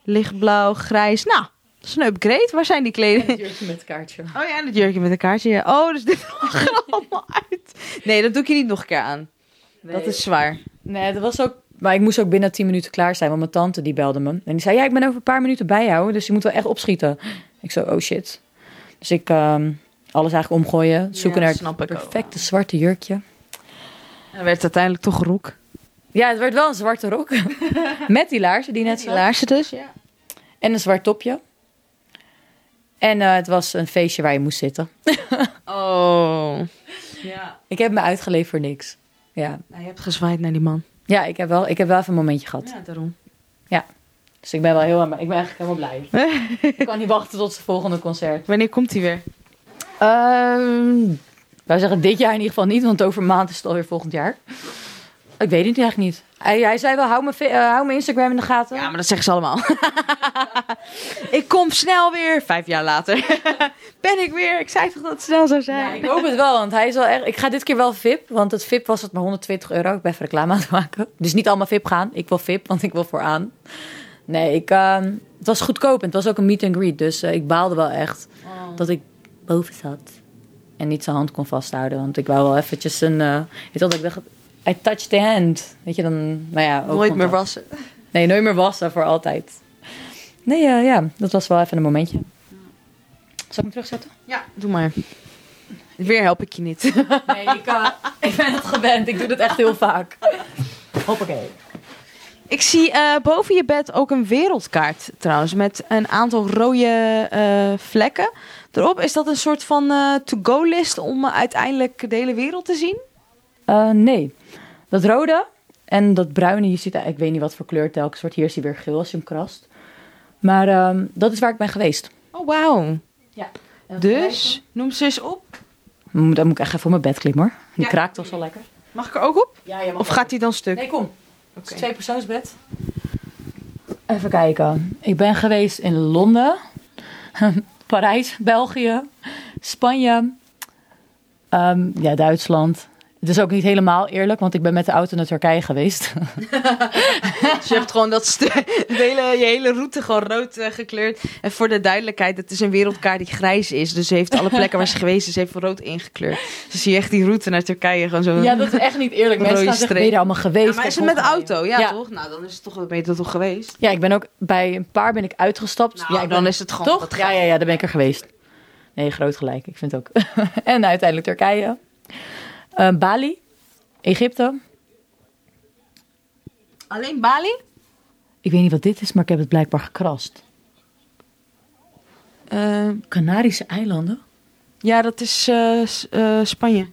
[SPEAKER 1] Lichtblauw, grijs. Nou, dat is een upgrade. Waar zijn die kleding?
[SPEAKER 2] jurkje met kaartje.
[SPEAKER 1] Oh ja, en het jurkje met een kaartje. ja. Oh, dus dit lag er allemaal uit. Nee, dat doe ik je niet nog een keer aan. Dat is zwaar.
[SPEAKER 2] Nee, dat was ook... Maar ik moest ook binnen 10 minuten klaar zijn, want mijn tante die belde me. En die zei, ja, ik ben over een paar minuten bij jou, dus je moet wel echt opschieten. Ik zo, oh shit. Dus ik ehm, alles eigenlijk omgooien, zoeken
[SPEAKER 1] Ja,
[SPEAKER 2] naar
[SPEAKER 1] snap
[SPEAKER 2] het
[SPEAKER 1] ik ook
[SPEAKER 2] perfecte zwarte jurkje.
[SPEAKER 1] En werd uiteindelijk toch roek.
[SPEAKER 2] Ja, het werd wel een
[SPEAKER 1] <laughs>
[SPEAKER 2] zwarte rok. Met die laarzen die net
[SPEAKER 1] Die
[SPEAKER 2] zo
[SPEAKER 1] laarzen dus. Ja.
[SPEAKER 2] En een zwart topje. En eh, het was een feestje waar je moest zitten.
[SPEAKER 1] Oh. Ja.
[SPEAKER 2] Ik heb me uitgeleverd voor niks. Ja,
[SPEAKER 1] je hebt gezwaaid naar die man.
[SPEAKER 2] ja ik, heb wel, ik heb wel even een momentje gehad.
[SPEAKER 1] Ja, daarom.
[SPEAKER 2] Dus ik ben wel heel... Ik ben eigenlijk helemaal blij. <laughs> ik kan niet wachten tot het volgende concert.
[SPEAKER 1] Wanneer komt hij weer?
[SPEAKER 2] Ehm wij zeggen dit jaar in ieder geval niet, want over een maand is het alweer volgend jaar. Ik weet het eigenlijk niet. Hij, hij zei wel, hou mijn, fe- eh, hou mijn Instagram in de gaten.
[SPEAKER 1] Ja, maar dat zeggen ze allemaal. <laughs> ik kom snel weer. Vijf jaar later. <laughs> ben ik weer. Ik zei toch dat het snel zou
[SPEAKER 2] Ja,
[SPEAKER 1] zijn.
[SPEAKER 2] ik hoop het wel, want hij is wel echt... Ik ga dit keer wel VIP, want het VIP was het maar 120 euro. Ik ben even reclame aan het maken. Dus niet allemaal VIP gaan. Ik wil VIP, want ik wil vooraan. Nee, ik, ehm, het was goedkoop en het was ook een meet and greet. Dus eh, ik baalde wel echt
[SPEAKER 1] Oh.
[SPEAKER 2] dat ik boven zat. En niet zijn hand kon vasthouden, want ik wou wel eventjes een... eh weet je wel, dat ik dacht, I touched the hand. Weet je, dan... Nou ja,
[SPEAKER 1] Nooit meer
[SPEAKER 2] wassen.
[SPEAKER 1] wassen.
[SPEAKER 2] Nee, nooit meer wassen, voor altijd. Nee, eh, ja, dat was wel even een momentje. Zal ik hem terugzetten?
[SPEAKER 1] Ja, doe maar. Weer help ik je niet. <laughs>
[SPEAKER 2] Nee, ik, eh, ik ben het gewend. Ik doe dat echt heel vaak. Hoppakee.
[SPEAKER 1] Ik zie eh, boven je bed ook een wereldkaart trouwens. Met een aantal rode eh, vlekken erop. Is dat een soort van eh, to-go-list om eh, uiteindelijk de hele wereld te zien?
[SPEAKER 2] Eh, nee. Dat rode en dat bruine, je ziet, eh, ik weet niet wat voor kleur telkens wordt. Hier is hij weer geel als je hem krast. Maar ehm, dat is waar ik ben geweest.
[SPEAKER 1] Oh, wauw.
[SPEAKER 2] Ja.
[SPEAKER 1] Dus, noem ze eens op.
[SPEAKER 2] Dan moet ik echt even op mijn bed klimmen hoor. Die
[SPEAKER 1] Ja.
[SPEAKER 2] kraakt toch zo lekker.
[SPEAKER 1] Mag ik er ook op?
[SPEAKER 2] Ja,
[SPEAKER 1] Of gaat die dan stuk?
[SPEAKER 2] Nee, kom.
[SPEAKER 1] Oké.
[SPEAKER 2] twee persoonsbed. Even kijken. Ik ben <laughs> geweest in Londen, Parijs, België, Spanje, Ehm, ja, Duitsland. Het is ook niet helemaal eerlijk, want ik ben met de auto naar Turkije geweest.
[SPEAKER 1] Dus je hebt gewoon dat stu- de hele, je hele route gewoon rood eh, gekleurd. En voor de duidelijkheid, het is een wereldkaart die grijs is. Dus ze heeft alle plekken waar ze geweest is, heeft rood ingekleurd. Dus zie je echt die route naar Turkije gewoon zo.
[SPEAKER 2] ja, dat is echt niet eerlijk.
[SPEAKER 1] Mensen Eh. Rode
[SPEAKER 2] Mensen gaan
[SPEAKER 1] gaan zeggen,
[SPEAKER 2] zeggen,
[SPEAKER 1] streep. ben je
[SPEAKER 2] er allemaal geweest?
[SPEAKER 1] Ja, maar is het met de auto? Ja,
[SPEAKER 2] Ja.
[SPEAKER 1] toch? Nou, dan is het toch, ben je er toch geweest?
[SPEAKER 2] Ja, ik ben ook bij een paar ben ik uitgestapt.
[SPEAKER 1] Nou,
[SPEAKER 2] ja, ik ben-
[SPEAKER 1] dan is het gewoon wat
[SPEAKER 2] Toch? Ja, ja, ja, daar ben ik er geweest. Nee, groot gelijk. Ik vind het ook. <laughs> en uiteindelijk Turkije. Eh, Bali. Egypte.
[SPEAKER 1] Alleen Bali?
[SPEAKER 2] Ik weet niet wat dit is, maar ik heb het blijkbaar gekrast. Canarische eilanden?
[SPEAKER 1] Eh, ja, dat is eh, S- eh, Spanje.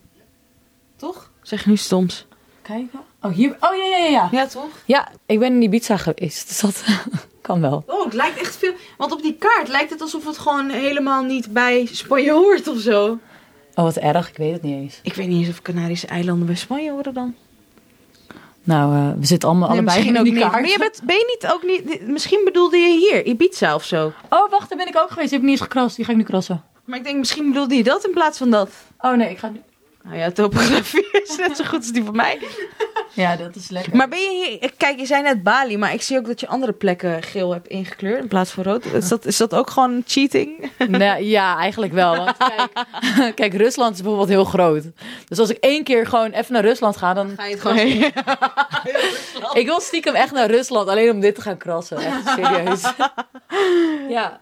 [SPEAKER 1] Toch? Zeg nu stoms.
[SPEAKER 2] Kijken. Oh, hier. Oh, ja, ja, ja. Ja,
[SPEAKER 1] Ja, toch?
[SPEAKER 2] ja ik ben in Ibiza geweest. Dus dat <laughs> kan wel.
[SPEAKER 1] Oh, het lijkt echt veel. Want op die kaart lijkt het alsof het gewoon helemaal niet bij Spanje hoort of zo.
[SPEAKER 2] Oh, wat erg. Ik weet het niet eens.
[SPEAKER 1] Ik weet niet eens of Canarische eilanden bij Spanje horen dan.
[SPEAKER 2] Nou, eh, we zitten allemaal allebei in die kaart.
[SPEAKER 1] Maar je bent, ben je niet ook niet... Misschien bedoelde je hier, Ibiza of zo.
[SPEAKER 2] Oh, wacht. Daar ben ik ook geweest. Die heb ik niet eens gekrast. Die ga ik nu krassen.
[SPEAKER 1] Maar ik denk, misschien bedoelde je dat in plaats van dat.
[SPEAKER 2] Oh, nee. Ik ga nu...
[SPEAKER 1] Nou ja, topografie <laughs> is net zo goed als die van mij.
[SPEAKER 2] Ja, dat is lekker. <laughs>
[SPEAKER 1] Maar ben je hier... Kijk, je zei net Bali, maar ik zie ook dat je andere plekken geel hebt ingekleurd in plaats van rood. Is dat, is dat ook gewoon cheating?
[SPEAKER 2] Nou, ja, eigenlijk wel. Want kijk, <laughs> kijk, Rusland is bijvoorbeeld heel groot. Dus als ik één keer gewoon even naar Rusland ga, dan...
[SPEAKER 1] Ga je het gewoon...
[SPEAKER 2] Ik wil stiekem echt naar Rusland, alleen om dit te gaan krassen. Echt <laughs> serieus. ja,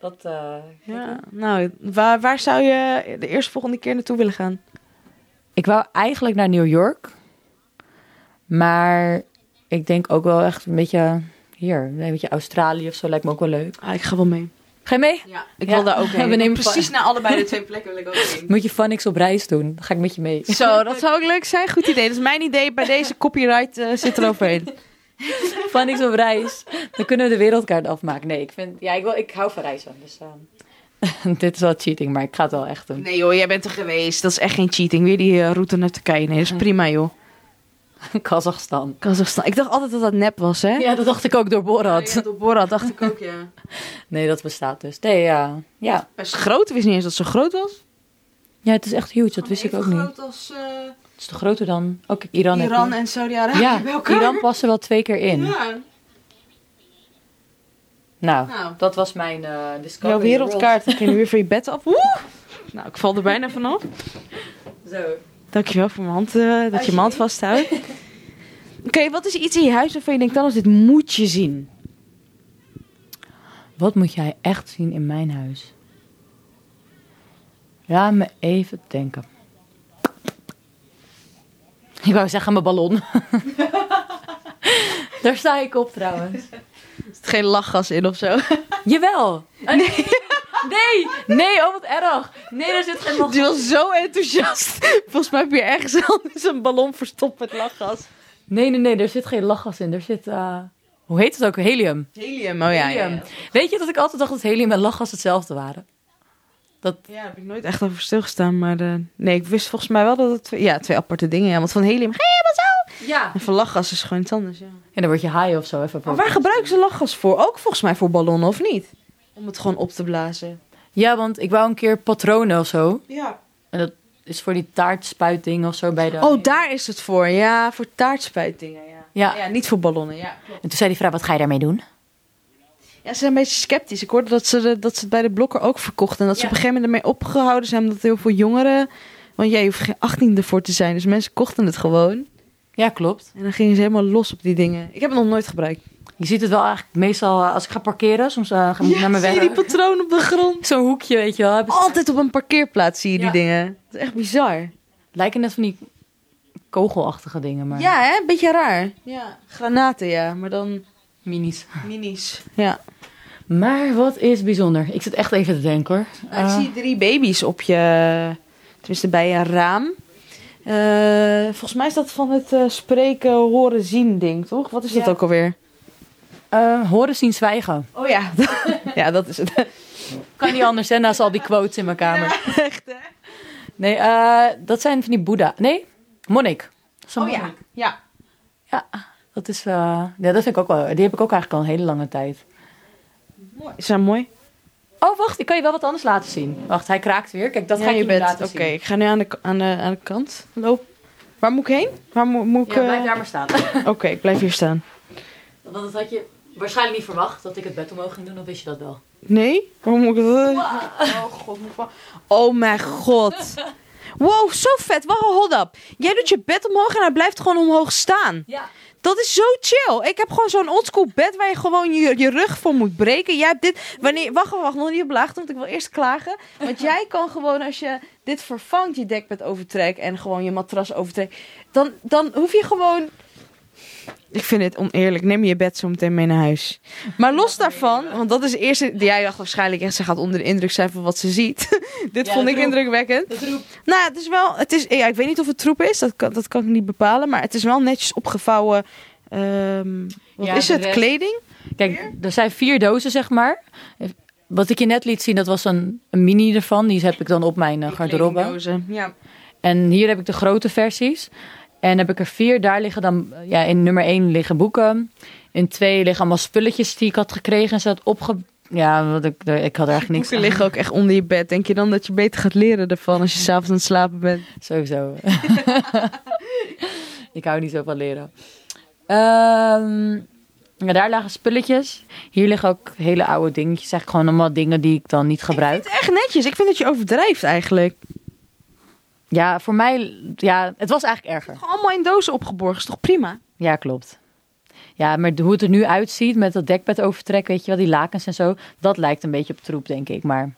[SPEAKER 2] dat... eh,
[SPEAKER 1] <laughs> Ja, nou, waar, waar zou je de eerste volgende keer naartoe willen gaan?
[SPEAKER 2] Ik wou eigenlijk naar New York. Maar ik denk ook wel echt een beetje hier. Een beetje Australië of zo lijkt me ook wel leuk.
[SPEAKER 1] Ah, ik ga wel mee.
[SPEAKER 2] Ga je mee?
[SPEAKER 1] Ja, ik
[SPEAKER 2] Ja.
[SPEAKER 1] wil <laughs> daar ook heen.
[SPEAKER 2] We nemen
[SPEAKER 1] Precies
[SPEAKER 2] van-
[SPEAKER 1] naar Nou, allebei de twee plekken wil ik ook heen.
[SPEAKER 2] Moet je Phonics op reis doen? Dan ga ik met je <laughs> mee.
[SPEAKER 1] Zo, dat zou ook leuk zijn. Goed idee. Dat is mijn idee. Bij deze copyright eh, zit er overheen.
[SPEAKER 2] Phonics op reis. Dan kunnen we de wereldkaart afmaken. Nee, ik, vind, ja, ik, wil, ik hou van reizen. Dus, ehm, <laughs> dit is wel cheating, maar ik ga het wel echt doen. <laughs>
[SPEAKER 1] Nee joh, jij bent er geweest. Dat is echt geen cheating. Weer die eh, route naar Turkije. Nee, dat is prima joh.
[SPEAKER 2] Kazachstan.
[SPEAKER 1] Kazachstan. Ik dacht altijd dat dat nep was, hè?
[SPEAKER 2] Ja, dat dacht ik ook door Borat.
[SPEAKER 1] Op Borat dacht ik ook, ja.
[SPEAKER 2] Nee, dat bestaat dus. Nee, ja. Ja,
[SPEAKER 1] Best <laughs> groot. Ik wist niet eens dat ze groot was.
[SPEAKER 2] ja het is echt huge. Dat wist ik ook niet.
[SPEAKER 1] Oh, groot als
[SPEAKER 2] Het is toch groter dan... Ook Iran. heb je-
[SPEAKER 1] en Saudi-Arabië
[SPEAKER 2] Ja, Iran past er wel twee keer in. Nou,
[SPEAKER 1] Nou.
[SPEAKER 2] dat was mijn eh discovery.
[SPEAKER 1] Jouw wereldkaart. Ik ging nu weer van je bed af. Oeh! Nou, ik val er bijna vanaf.
[SPEAKER 2] world. Zo.
[SPEAKER 1] Dankjewel voor mijn hand, eh, dat je
[SPEAKER 2] Alsjeblieft.
[SPEAKER 1] mijn hand vasthoudt. Oké, wat is iets in je huis waarvan je denkt, Thomas, dit moet je zien?
[SPEAKER 2] Wat moet jij echt zien in mijn huis? Laat me even denken. Ik wou zeggen mijn ballon. <laughs> Daar sta ik op trouwens.
[SPEAKER 1] Is er geen <laughs> lachgas in of zo?
[SPEAKER 2] Jawel. Oh, nee. nee. Nee, oh wat erg. Nee, daar zit geen
[SPEAKER 1] Die was zo enthousiast. Volgens mij heb je ergens <laughs> anders een ballon verstopt met lachgas.
[SPEAKER 2] Nee, nee, nee, daar zit geen lachgas in. Daar zit, eh, hoe heet het ook? Helium.
[SPEAKER 1] Helium, oh ja.
[SPEAKER 2] Helium. Weet je dat ik altijd dacht dat helium en lachgas hetzelfde waren? Dat,
[SPEAKER 1] Ja, daar heb ik nooit echt over stilgestaan. Maar eh, nee, ik wist volgens mij wel dat het twee, ja, twee aparte dingen Ja, want van helium ga je helemaal zo.
[SPEAKER 2] ja.
[SPEAKER 1] En van lachgas is gewoon iets anders, ja.
[SPEAKER 2] En dan word je high of zo. Even
[SPEAKER 1] Maar waar gebruiken ze lachgas voor? Ook volgens mij voor ballonnen, of niet? Om het gewoon op te blazen.
[SPEAKER 2] Ja, want ik wou een keer patronen of zo.
[SPEAKER 1] Ja.
[SPEAKER 2] En dat is voor die taartspuiting of zo bij de...
[SPEAKER 1] Oh, daar is het voor. Ja, voor taartspuitdingen, ja.
[SPEAKER 2] Ja.
[SPEAKER 1] Ja, niet voor ballonnen, ja.
[SPEAKER 2] En toen zei die vrouw, wat ga je daarmee doen?
[SPEAKER 1] Ja, ze zijn een beetje sceptisch. Ik hoorde dat ze, de- dat ze het bij de blokker ook verkochten. En dat ze
[SPEAKER 2] Ja.
[SPEAKER 1] op een gegeven moment ermee opgehouden zijn. Omdat heel veel jongeren... Want jij hoeft geen 18 ervoor te zijn. Dus mensen kochten het gewoon.
[SPEAKER 2] Ja, klopt.
[SPEAKER 1] En dan gingen ze helemaal los op die dingen. Ik heb het nog nooit gebruikt.
[SPEAKER 2] Je ziet het wel eigenlijk meestal eh, als ik ga parkeren. Soms eh, ga ik naar mijn
[SPEAKER 1] zie je
[SPEAKER 2] weg.
[SPEAKER 1] die patroon op de grond?
[SPEAKER 2] Zo'n hoekje, weet je wel. Hebben ze-
[SPEAKER 1] Dus Altijd op een parkeerplaats zie je die
[SPEAKER 2] Ja.
[SPEAKER 1] dingen. Dat is echt bizar.
[SPEAKER 2] Lijken net van die kogelachtige dingen, maar
[SPEAKER 1] Ja, hè? Beetje raar. Ja. Granaten, ja. Maar dan
[SPEAKER 2] minis.
[SPEAKER 1] minis. Ja.
[SPEAKER 2] Maar wat is bijzonder? Ik zit echt even te denken hoor.
[SPEAKER 1] Nou, ik
[SPEAKER 2] Eh,
[SPEAKER 1] zie drie baby's op je... Tenminste, bij een raam. Eh, volgens mij is dat van het eh, spreken, horen, zien ding, toch? Wat is dat
[SPEAKER 2] Ja.
[SPEAKER 1] ook alweer?
[SPEAKER 2] eh, horen, zien, zwijgen.
[SPEAKER 1] Oh ja. <laughs> ja, dat
[SPEAKER 2] <laughs>
[SPEAKER 1] is het.
[SPEAKER 2] Kan niet anders hè, naast al die quotes in mijn kamer. <laughs> Nee, eh, dat zijn van die boeddha. Nee, monnik. Dat is een monnik.
[SPEAKER 1] Ja.
[SPEAKER 2] Oh Ja, dat is. eh, ja, dat vind ik ook wel. Die heb ik ook eigenlijk al een hele lange tijd.
[SPEAKER 1] Mooi. Is dat mooi?
[SPEAKER 2] Oh, wacht, ik kan je wel wat anders laten zien. Wacht, hij kraakt weer. Kijk, dat
[SPEAKER 1] Ja,
[SPEAKER 2] ga ik
[SPEAKER 1] je
[SPEAKER 2] je
[SPEAKER 1] bent.
[SPEAKER 2] laten
[SPEAKER 1] Oké, ik ga nu aan de, aan, de, aan de kant lopen. Waar moet ik heen? Waar moet, moet ik...
[SPEAKER 2] zien. Ja,
[SPEAKER 1] eh,
[SPEAKER 2] blijf daar maar staan.
[SPEAKER 1] Oké, ik blijf hier staan.
[SPEAKER 2] <laughs> Want dat had je waarschijnlijk niet verwacht, dat ik het bed omhoog ging doen, dan wist je dat wel.
[SPEAKER 1] Nee? Waarom moet ik dat... Oh god, moet ik wel- Oh mijn
[SPEAKER 2] <laughs>
[SPEAKER 1] god. Wow, zo vet. Wacht, hold up. Jij doet je bed omhoog en hij blijft gewoon omhoog staan.
[SPEAKER 2] Ja.
[SPEAKER 1] Dat is zo chill. Ik heb gewoon zo'n oldschool bed waar je gewoon je, je rug voor moet breken. Jij hebt dit... Wanneer... Wacht, wacht, wacht. Nog niet op laag, want ik wil eerst klagen. Want jij kan gewoon als je dit vervangt, je dekbed overtrekt en gewoon je matras overtrekt. Dan, dan hoef je gewoon... Ik vind het oneerlijk. Neem je bed zo meteen mee naar huis. Maar los daarvan, want dat is de eerste... Jij dacht waarschijnlijk echt, ze gaat onder de indruk zijn van wat ze ziet. <laughs> dit
[SPEAKER 2] Ja,
[SPEAKER 1] vond ik
[SPEAKER 2] troep.
[SPEAKER 1] indrukwekkend.
[SPEAKER 2] Dat roep.
[SPEAKER 1] Nou, het is wel. Het is, ja, ik weet niet of het troep is, dat kan, dat kan ik niet bepalen. Maar het is wel netjes opgevouwen. ehm, wat
[SPEAKER 2] Ja,
[SPEAKER 1] is
[SPEAKER 2] de
[SPEAKER 1] het?
[SPEAKER 2] rest-
[SPEAKER 1] Kleding?
[SPEAKER 2] Kijk, er zijn vier dozen, zeg maar. Wat ik je net liet zien, dat was een, een mini ervan. Die heb ik dan op mijn eh, garderobe.
[SPEAKER 1] Kledingdozen, Ja.
[SPEAKER 2] En hier heb ik de grote versies. En heb ik er vier. Daar liggen dan, eh, ja, in nummer één liggen boeken. In twee liggen allemaal spulletjes die ik had gekregen. En ze had opge... Ja, wat ik, er- ik had er eigenlijk niks <laughs>
[SPEAKER 1] Boeken
[SPEAKER 2] aan.
[SPEAKER 1] liggen ook echt onder je bed. Denk je dan dat je beter gaat leren ervan als je s'avonds aan het slapen bent?
[SPEAKER 2] <laughs> Sowieso. ik hou niet zo van leren. Ehm, ja, daar lagen spulletjes. Hier liggen ook hele oude dingetjes. Eigenlijk gewoon allemaal dingen die ik dan niet gebruik.
[SPEAKER 1] Echt netjes. Ik vind dat je overdrijft eigenlijk.
[SPEAKER 2] Ja, voor mij, ja, het was eigenlijk erger.
[SPEAKER 1] Gewoon allemaal in dozen opgeborgen. Is toch prima?
[SPEAKER 2] Ja, klopt. Ja, maar hoe het er nu uitziet met dat dekbed overtrek, weet je wel, die lakens en zo, dat lijkt een beetje op troep, denk ik. Maar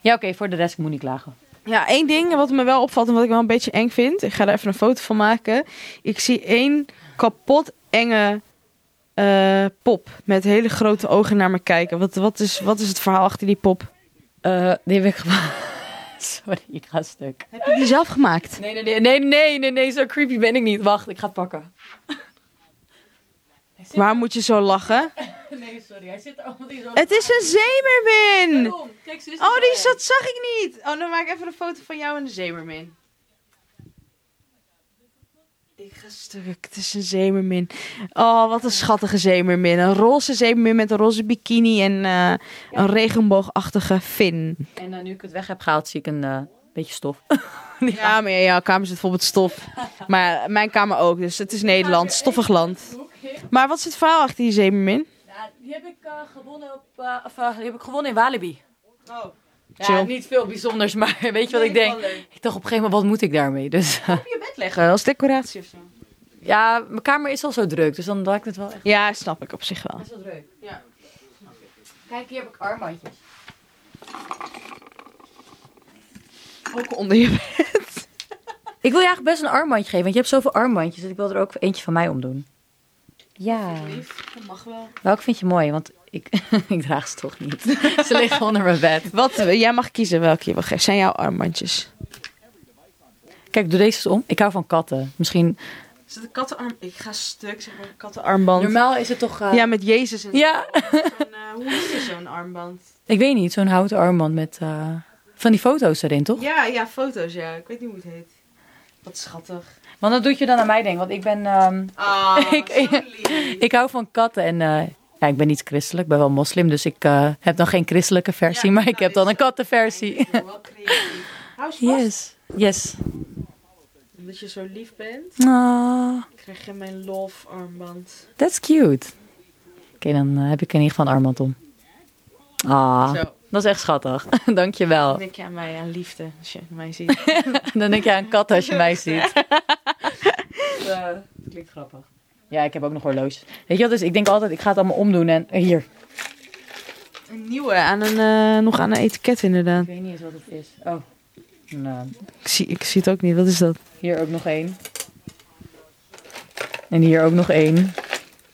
[SPEAKER 2] ja, oké, voor de rest ik moet niet klagen.
[SPEAKER 1] Ja, één ding wat me wel opvalt en wat ik wel een beetje eng vind. Ik ga er even een foto van maken. Ik zie één kapot enge eh, pop met hele grote ogen naar me kijken. Wat, wat, is, wat is het verhaal achter die pop?
[SPEAKER 2] Eh, die heb ik gewoon. <laughs> Sorry, ik ga stuk.
[SPEAKER 1] Heb je die zelf gemaakt?
[SPEAKER 2] Nee, nee, nee, nee, nee, nee, nee, zo creepy ben ik niet. Wacht, ik ga het pakken.
[SPEAKER 1] Waar moet je zo lachen?
[SPEAKER 2] <laughs> Nee, sorry, hij zit er allemaal in
[SPEAKER 1] Het is een zeemermin!
[SPEAKER 2] Kijk, zus.
[SPEAKER 1] Oh, die zat, zag ik niet! Oh, dan maak ik even een foto van jou en de zeemermin. Ik ga stuk. Het is een zeemermin. Oh, wat een schattige zeemermin. Een roze zeemermin met een roze bikini en eh, een regenboogachtige fin.
[SPEAKER 2] En eh, nu ik het weg heb gehaald, zie ik een eh, beetje stof.
[SPEAKER 1] Ja, maar ja, jouw kamer zit bijvoorbeeld stof. Maar mijn kamer ook, dus het is Nederland. Stoffig land. Maar wat is het verhaal achter die zeemermin?
[SPEAKER 2] Ja, die heb ik eh, gewonnen op, of, eh, die heb ik gewonnen in Walibi.
[SPEAKER 1] Oh,
[SPEAKER 2] Ja,
[SPEAKER 1] Chill.
[SPEAKER 2] niet veel bijzonders, <laughs> maar weet je wat ik denk? Ik dacht op een gegeven moment, wat moet ik daarmee? Dus <laughs> eh,
[SPEAKER 1] Op je bed leggen als decoratie of zo.
[SPEAKER 2] ja, mijn kamer is al zo druk, dus dan dacht ik het wel echt.
[SPEAKER 1] Ja, snap ik op zich wel.
[SPEAKER 2] Best wel druk.
[SPEAKER 1] Ja.
[SPEAKER 2] Kijk, hier heb ik armbandjes.
[SPEAKER 1] Ook onder je bed.
[SPEAKER 2] Ik wil je eigenlijk best een armbandje geven, want je hebt zoveel armbandjes, dus ik wil er ook eentje van mij om doen. Ja.
[SPEAKER 1] Dat mag wel.
[SPEAKER 2] Welke vind je mooi? Want ik, <laughs> ik draag ze toch niet. <laughs> ze liggen onder mijn bed.
[SPEAKER 1] Wat, eh, jij mag kiezen welke je wil geven. Zijn jouw armbandjes?
[SPEAKER 2] Kijk, doe deze eens om. Ik hou van katten. Misschien.
[SPEAKER 1] Is het een kattenarm? Ik ga stuk, zeg maar een kattenarmband.
[SPEAKER 2] Normaal is het toch. eh,
[SPEAKER 1] Ja, met Jezus en
[SPEAKER 2] Ja.
[SPEAKER 1] Zo'n, eh, hoe is zo'n armband?
[SPEAKER 2] Ik weet niet, zo'n houten armband met. eh, van die foto's erin, toch?
[SPEAKER 1] Ja, ja, foto's, ja. Ik weet niet hoe het heet. Wat <laughs> schattig.
[SPEAKER 2] Want dat doet je dan aan mij denken, want ik ben. ehm,
[SPEAKER 1] Ah,
[SPEAKER 2] Ik- zo
[SPEAKER 1] <laughs>
[SPEAKER 2] Ik hou van katten en eh, ja, ik ben niet christelijk, ik ben wel moslim, dus ik eh, heb dan geen christelijke versie,
[SPEAKER 1] Ja,
[SPEAKER 2] maar ik
[SPEAKER 1] nou,
[SPEAKER 2] heb dan
[SPEAKER 1] dit-
[SPEAKER 2] een kattenversie.
[SPEAKER 1] Wel creatief. Hou eens vast.
[SPEAKER 2] Yes, yes.
[SPEAKER 1] Omdat je zo lief bent,
[SPEAKER 2] Ah,
[SPEAKER 1] krijg je mijn love armband.
[SPEAKER 2] that's cute. Oké, dan eh, heb ik in ieder geval een armband om. Ah,
[SPEAKER 1] Zo,
[SPEAKER 2] dat is echt schattig. <laughs> Dankjewel.
[SPEAKER 1] denk je aan mij, aan liefde, als je mij ziet.
[SPEAKER 2] Dan denk je aan katten als je mij ziet. klinkt grappig. Ja, ik heb ook nog horloges. Weet je wat, dus ik denk altijd, ik ga het allemaal omdoen en eh, hier.
[SPEAKER 1] <laughs> Een nieuwe, aan een, eh, nog aan een etiket inderdaad.
[SPEAKER 2] Ik weet niet eens wat het is. Oh, nou.
[SPEAKER 1] Ik zie, ik zie het ook niet, wat is dat?
[SPEAKER 2] Hier ook nog één. En hier ook nog één.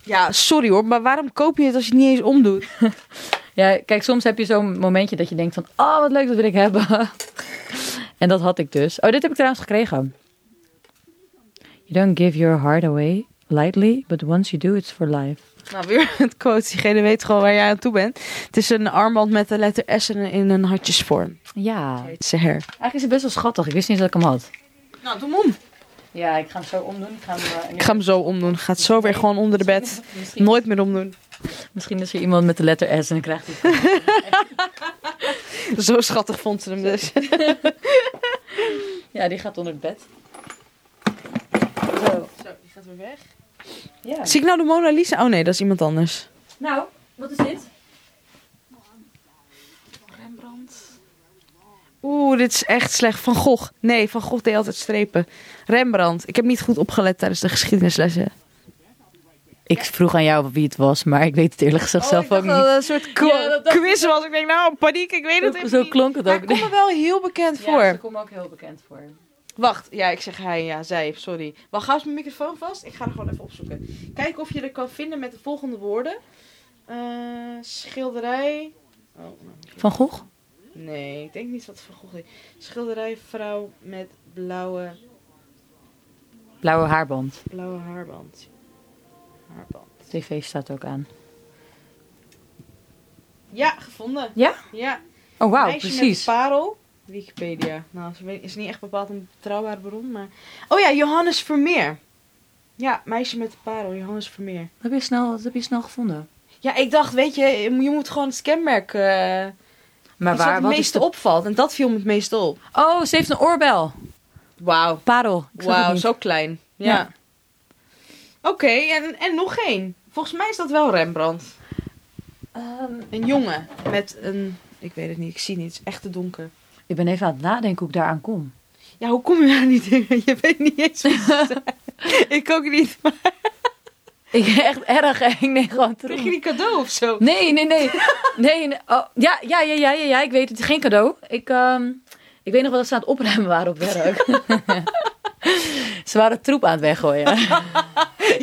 [SPEAKER 1] Ja, sorry hoor, maar waarom koop je het als je het niet eens omdoet?
[SPEAKER 2] Ja, kijk, soms heb je zo'n momentje dat je denkt van... Oh, wat leuk, dat wil ik hebben. <laughs> en dat had ik dus. Oh, dit heb ik trouwens gekregen. You don't give your heart away lightly, but once you do, it's for life.
[SPEAKER 1] Nou, weer het quote. Diegene weet gewoon waar jij aan toe bent. Het is een armband met de letter S in een, in een hartjesvorm.
[SPEAKER 2] Ja,
[SPEAKER 1] Heet
[SPEAKER 2] eigenlijk
[SPEAKER 1] Ze her.
[SPEAKER 2] is het best wel schattig. Ik wist niet dat ik hem had.
[SPEAKER 1] Nou, doe hem om.
[SPEAKER 2] Ja, ik ga hem zo omdoen. Ik ga hem, eh,
[SPEAKER 1] Ik ga hem zo omdoen. Gaat zo weer gewoon onder de bed.
[SPEAKER 2] Misschien,
[SPEAKER 1] Nooit meer omdoen. <laughs>
[SPEAKER 2] misschien is er iemand met de letter S en dan krijgt hij...
[SPEAKER 1] Zo schattig vond ze hem dus.
[SPEAKER 2] <laughs> Ja, die gaat onder het bed. Zo.
[SPEAKER 1] Zo, die gaat weer weg.
[SPEAKER 2] Ja.
[SPEAKER 1] Zie ik nou de Mona Lisa? Oh nee, dat is iemand anders.
[SPEAKER 2] Nou, wat is dit?
[SPEAKER 1] Oeh, dit is echt slecht. Van Gogh. Nee, Van Gogh deed altijd strepen. Rembrandt. Ik heb niet goed opgelet tijdens de geschiedenislessen.
[SPEAKER 2] Ik vroeg aan jou wie het was, maar Oh, ik weet het eerlijk gezegd zelf ook
[SPEAKER 1] dat
[SPEAKER 2] niet.
[SPEAKER 1] het een soort qu-
[SPEAKER 2] Ja, dat dacht
[SPEAKER 1] quiz was. Ik denk, nou, paniek, ik weet het even
[SPEAKER 2] Zo
[SPEAKER 1] niet.
[SPEAKER 2] klonk het
[SPEAKER 1] Maar
[SPEAKER 2] ook. <laughs>
[SPEAKER 1] ik kom er wel heel bekend voor.
[SPEAKER 2] Ja, ze komen ook heel bekend voor.
[SPEAKER 1] Wacht, ja, ik zeg hij, ja, zij, sorry. Wacht, hou eens mijn microfoon vast. Ik ga er gewoon even opzoeken. Kijk of je er kan vinden met de volgende woorden. Eh, schilderij... Oh, nou, misschien-
[SPEAKER 2] Van Gogh?
[SPEAKER 1] Nee, ik denk niet dat het van Gogh is. Schilderij vrouw met blauwe
[SPEAKER 2] Blauwe haarband.
[SPEAKER 1] Blauwe haarband. Haarband.
[SPEAKER 2] TV staat ook aan.
[SPEAKER 1] Ja, gevonden.
[SPEAKER 2] Ja?
[SPEAKER 1] Ja.
[SPEAKER 2] Oh, wauw,
[SPEAKER 1] Meisje
[SPEAKER 2] precies.
[SPEAKER 1] met parel. Wikipedia. Nou, ze weet- is niet echt bepaald een betrouwbare bron, maar... Oh ja, Johannes Vermeer. Ja, meisje met de parel, Johannes Vermeer.
[SPEAKER 2] Wat heb, je snel, wat heb je snel gevonden?
[SPEAKER 1] Ja, ik dacht, weet je, je moet gewoon het kenmerk... eh
[SPEAKER 2] Maar
[SPEAKER 1] iets wat het meeste opvalt. En dat viel me het meeste op.
[SPEAKER 2] Oh, ze heeft een oorbel.
[SPEAKER 1] Wauw.
[SPEAKER 2] Parel. Ik zag het
[SPEAKER 1] Wauw,
[SPEAKER 2] niet.
[SPEAKER 1] zo klein. Ja.
[SPEAKER 2] Ja.
[SPEAKER 1] Oké, en, en nog één. Volgens mij is dat wel Rembrandt.
[SPEAKER 2] Ehm,
[SPEAKER 1] Een jongen met een... Ik weet het niet, ik zie niet. Het is echt te donker.
[SPEAKER 2] ik ben even aan het nadenken hoe ik daaraan kom.
[SPEAKER 1] Ja, hoe kom je daar niet in? <laughs> Je weet niet eens wat <laughs> ze zijn. Ik ook niet. Maar
[SPEAKER 2] Ik <laughs> echt erg eng. Nee, gewoon
[SPEAKER 1] kreeg
[SPEAKER 2] terug.
[SPEAKER 1] je die cadeau of zo?
[SPEAKER 2] Nee, nee, <laughs> nee. nee, nee. Oh, ja, ja, ja, ja, ja, ja, ik weet het. Geen cadeau. Ik, ehm, ik weet nog wel dat ze aan het opruimen waren op werk. <laughs> ze waren troep aan het weggooien.
[SPEAKER 1] <laughs>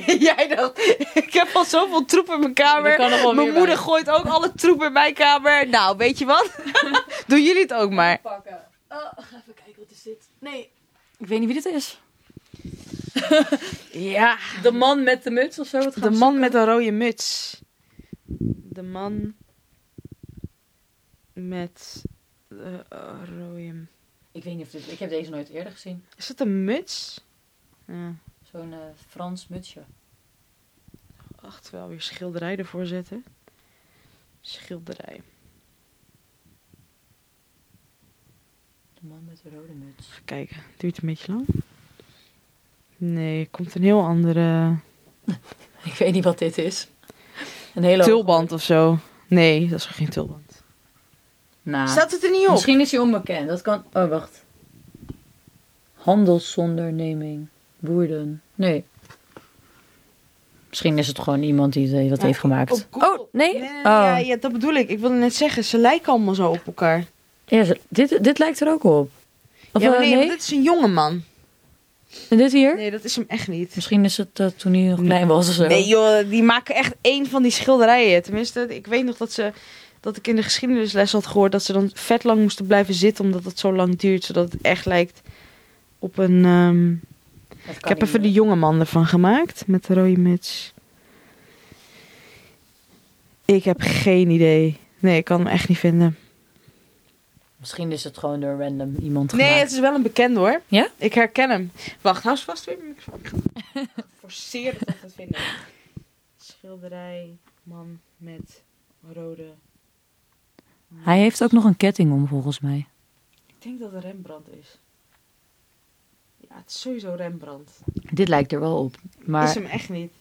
[SPEAKER 1] Jij dacht, ik heb al zoveel troep in mijn kamer.
[SPEAKER 2] Er kan nog wel
[SPEAKER 1] mijn
[SPEAKER 2] meer
[SPEAKER 1] moeder
[SPEAKER 2] bij.
[SPEAKER 1] gooit ook alle troep in mijn kamer. Nou, weet je wat? <laughs> Doen jullie het ook maar.
[SPEAKER 2] Pakken. Oh, even kijken, wat is dit? Nee. Ik weet niet wie dit is.
[SPEAKER 1] Ja,
[SPEAKER 2] De man met de muts of zo? Wat
[SPEAKER 1] de man met een rode muts. De man met de rode...
[SPEAKER 2] Ik weet niet of dit... Ik heb deze nooit eerder gezien.
[SPEAKER 1] Is dat een muts? Ja,
[SPEAKER 2] Zo'n eh, Frans mutsje.
[SPEAKER 1] acht wel weer schilderij ervoor zetten. Schilderij.
[SPEAKER 2] De man met de rode muts.
[SPEAKER 1] Kijken, duurt een beetje lang. Nee, er komt een heel andere
[SPEAKER 2] Ik weet niet wat dit is. Een hele...
[SPEAKER 1] tulband of zo. Nee, dat is geen tulband.
[SPEAKER 2] Nou,
[SPEAKER 1] Staat het er niet op?
[SPEAKER 2] misschien is hij onbekend. Dat kan... Oh, wacht. Handelsonderneming. Boerden. Nee. Misschien is het gewoon iemand die eh, wat
[SPEAKER 1] Ja,
[SPEAKER 2] heeft gemaakt.
[SPEAKER 1] op Google-
[SPEAKER 2] Oh, nee?
[SPEAKER 1] nee,
[SPEAKER 2] Oh.
[SPEAKER 1] Ja, ja, dat bedoel ik. Ik wilde net zeggen, ze lijken allemaal zo op elkaar.
[SPEAKER 2] Ja, ze- dit, dit lijkt er ook op. Of
[SPEAKER 1] ja,
[SPEAKER 2] eh,
[SPEAKER 1] maar nee,
[SPEAKER 2] nee?
[SPEAKER 1] want dit is een jonge man.
[SPEAKER 2] En dit hier?
[SPEAKER 1] Nee, dat is hem echt niet.
[SPEAKER 2] Misschien is het eh, toen hij nog klein was of zo.
[SPEAKER 1] Nee joh, die maken echt één van die schilderijen. Tenminste, ik weet nog dat ze... Dat ik in de geschiedenisles had gehoord dat ze dan vet lang moesten blijven zitten. Omdat het zo lang duurt. Zodat het echt lijkt op een... ehm, Ik heb even de jonge man ervan gemaakt met de rode muts. Ik heb geen idee. Nee, ik kan hem echt niet vinden.
[SPEAKER 2] Misschien is het gewoon door random iemand gemaakt.
[SPEAKER 1] Nee, het is wel een bekende hoor.
[SPEAKER 2] Ja?
[SPEAKER 1] Ik herken hem. Wacht, hou eens vast weer mijn microfoon. Ik ga forceren dat ik het vinden. Schilderij, man met rode.
[SPEAKER 2] Hij heeft ook nog een ketting om, volgens mij.
[SPEAKER 1] Ik denk dat het Rembrandt is. Ja, het is sowieso Rembrandt.
[SPEAKER 2] Dit lijkt er wel op. Maar
[SPEAKER 1] Is hem echt niet.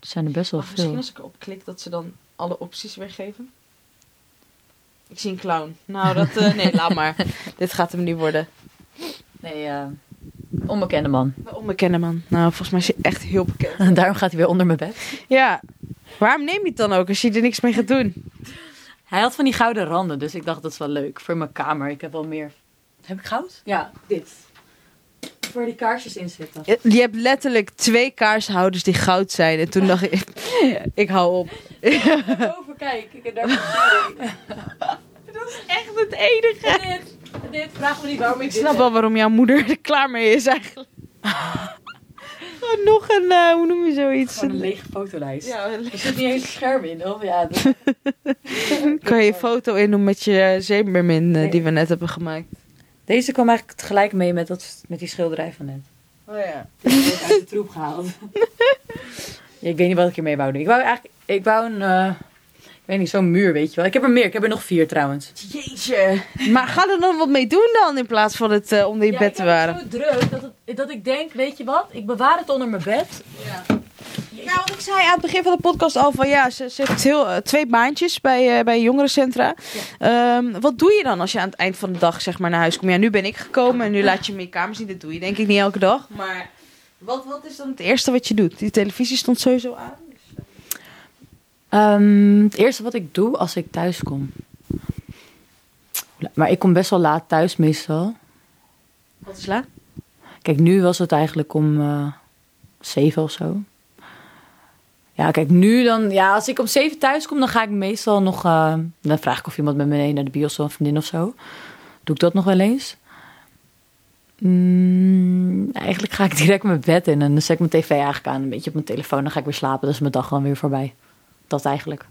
[SPEAKER 2] er zijn er best wel
[SPEAKER 1] Of Oh, Ah, misschien
[SPEAKER 2] veel.
[SPEAKER 1] als ik erop klik dat ze dan alle opties weergeven. Ik zie een clown. Nou, dat... eh, nee, <laughs> laat maar. Dit gaat hem nu worden.
[SPEAKER 2] Nee, eh, onbekende man.
[SPEAKER 1] Een onbekende man. Nou, volgens mij is hij echt heel bekend.
[SPEAKER 2] <laughs> Daarom gaat hij weer onder mijn bed.
[SPEAKER 1] Ja. Waarom neem je het dan ook als je er niks mee gaat doen?
[SPEAKER 2] Hij had van die gouden randen, dus ik dacht dat is wel leuk. Voor mijn kamer. Ik heb wel meer. Heb ik goud? Ja, dit. Voor die kaarsjes in zitten.
[SPEAKER 1] Je- Je hebt letterlijk twee kaarshouders die goud zijn. En toen dacht ik, <laughs> ik hou op.
[SPEAKER 2] Boven, kijk. Ik heb <laughs> daar
[SPEAKER 1] Echt het enige.
[SPEAKER 2] dit. Dit. Vraag me niet waarom
[SPEAKER 1] Ik snap wel waarom jouw moeder er klaar mee is <laughs> eigenlijk. Gewoon nog een, eh, hoe noem je zoiets?
[SPEAKER 2] Gewoon een lege fotolijst.
[SPEAKER 1] Ja, een
[SPEAKER 2] Er zit niet eens een scherm in, of? Ja, dat-
[SPEAKER 1] Kan je je foto in doen met je zeemermin eh,
[SPEAKER 2] Nee.
[SPEAKER 1] die we net hebben gemaakt?
[SPEAKER 2] <laughs> Deze kwam eigenlijk tegelijk mee met, dat, met die schilderij van net.
[SPEAKER 1] Oh ja.
[SPEAKER 2] Die heb ik uit de <laughs> troep gehaald. Ja, ik weet niet wat ik hiermee wou doen. Ik wou eigenlijk... Ik wou een... eh, Ik weet niet, zo'n muur, weet je wel. Ik heb er meer, ik heb er nog vier trouwens.
[SPEAKER 1] Jeetje. Maar ga er dan wat mee doen dan in plaats van het eh, onder je bed te waren.
[SPEAKER 2] zo druk dat, het- dat ik denk, weet je wat, ik bewaar het onder mijn bed.
[SPEAKER 1] Ja, want ik zei aan het begin van de podcast al van ja, ze, ze heeft heel, eh, twee baantjes bij, eh, bij jongerencentra. Ehm, wat doe je dan als je aan het eind van de dag zeg maar, naar huis komt? Ja, nu ben ik gekomen en nu laat je meer kamers zien. Dat doe je denk ik niet elke dag. Maar wat, wat is dan het eerste wat je doet? Die televisie stond sowieso aan.
[SPEAKER 2] Ehm, het eerste wat ik doe als ik thuis kom. Maar ik kom best wel laat thuis meestal.
[SPEAKER 1] Wat is laat?
[SPEAKER 2] Kijk, nu was het eigenlijk om eh, zeven of zo. Ja, kijk, nu dan... Ja, als ik om zeven thuis kom, dan ga ik meestal nog... eh, dan vraag ik of iemand met me mee naar de bios of een vriendin of zo. Doe ik dat nog wel eens? Mm, eigenlijk ga ik direct mijn bed in en dan zet ik mijn tv eigenlijk aan. Een beetje op mijn telefoon, dan ga ik weer slapen. Dan is mijn dag dan weer voorbij. Dat eigenlijk.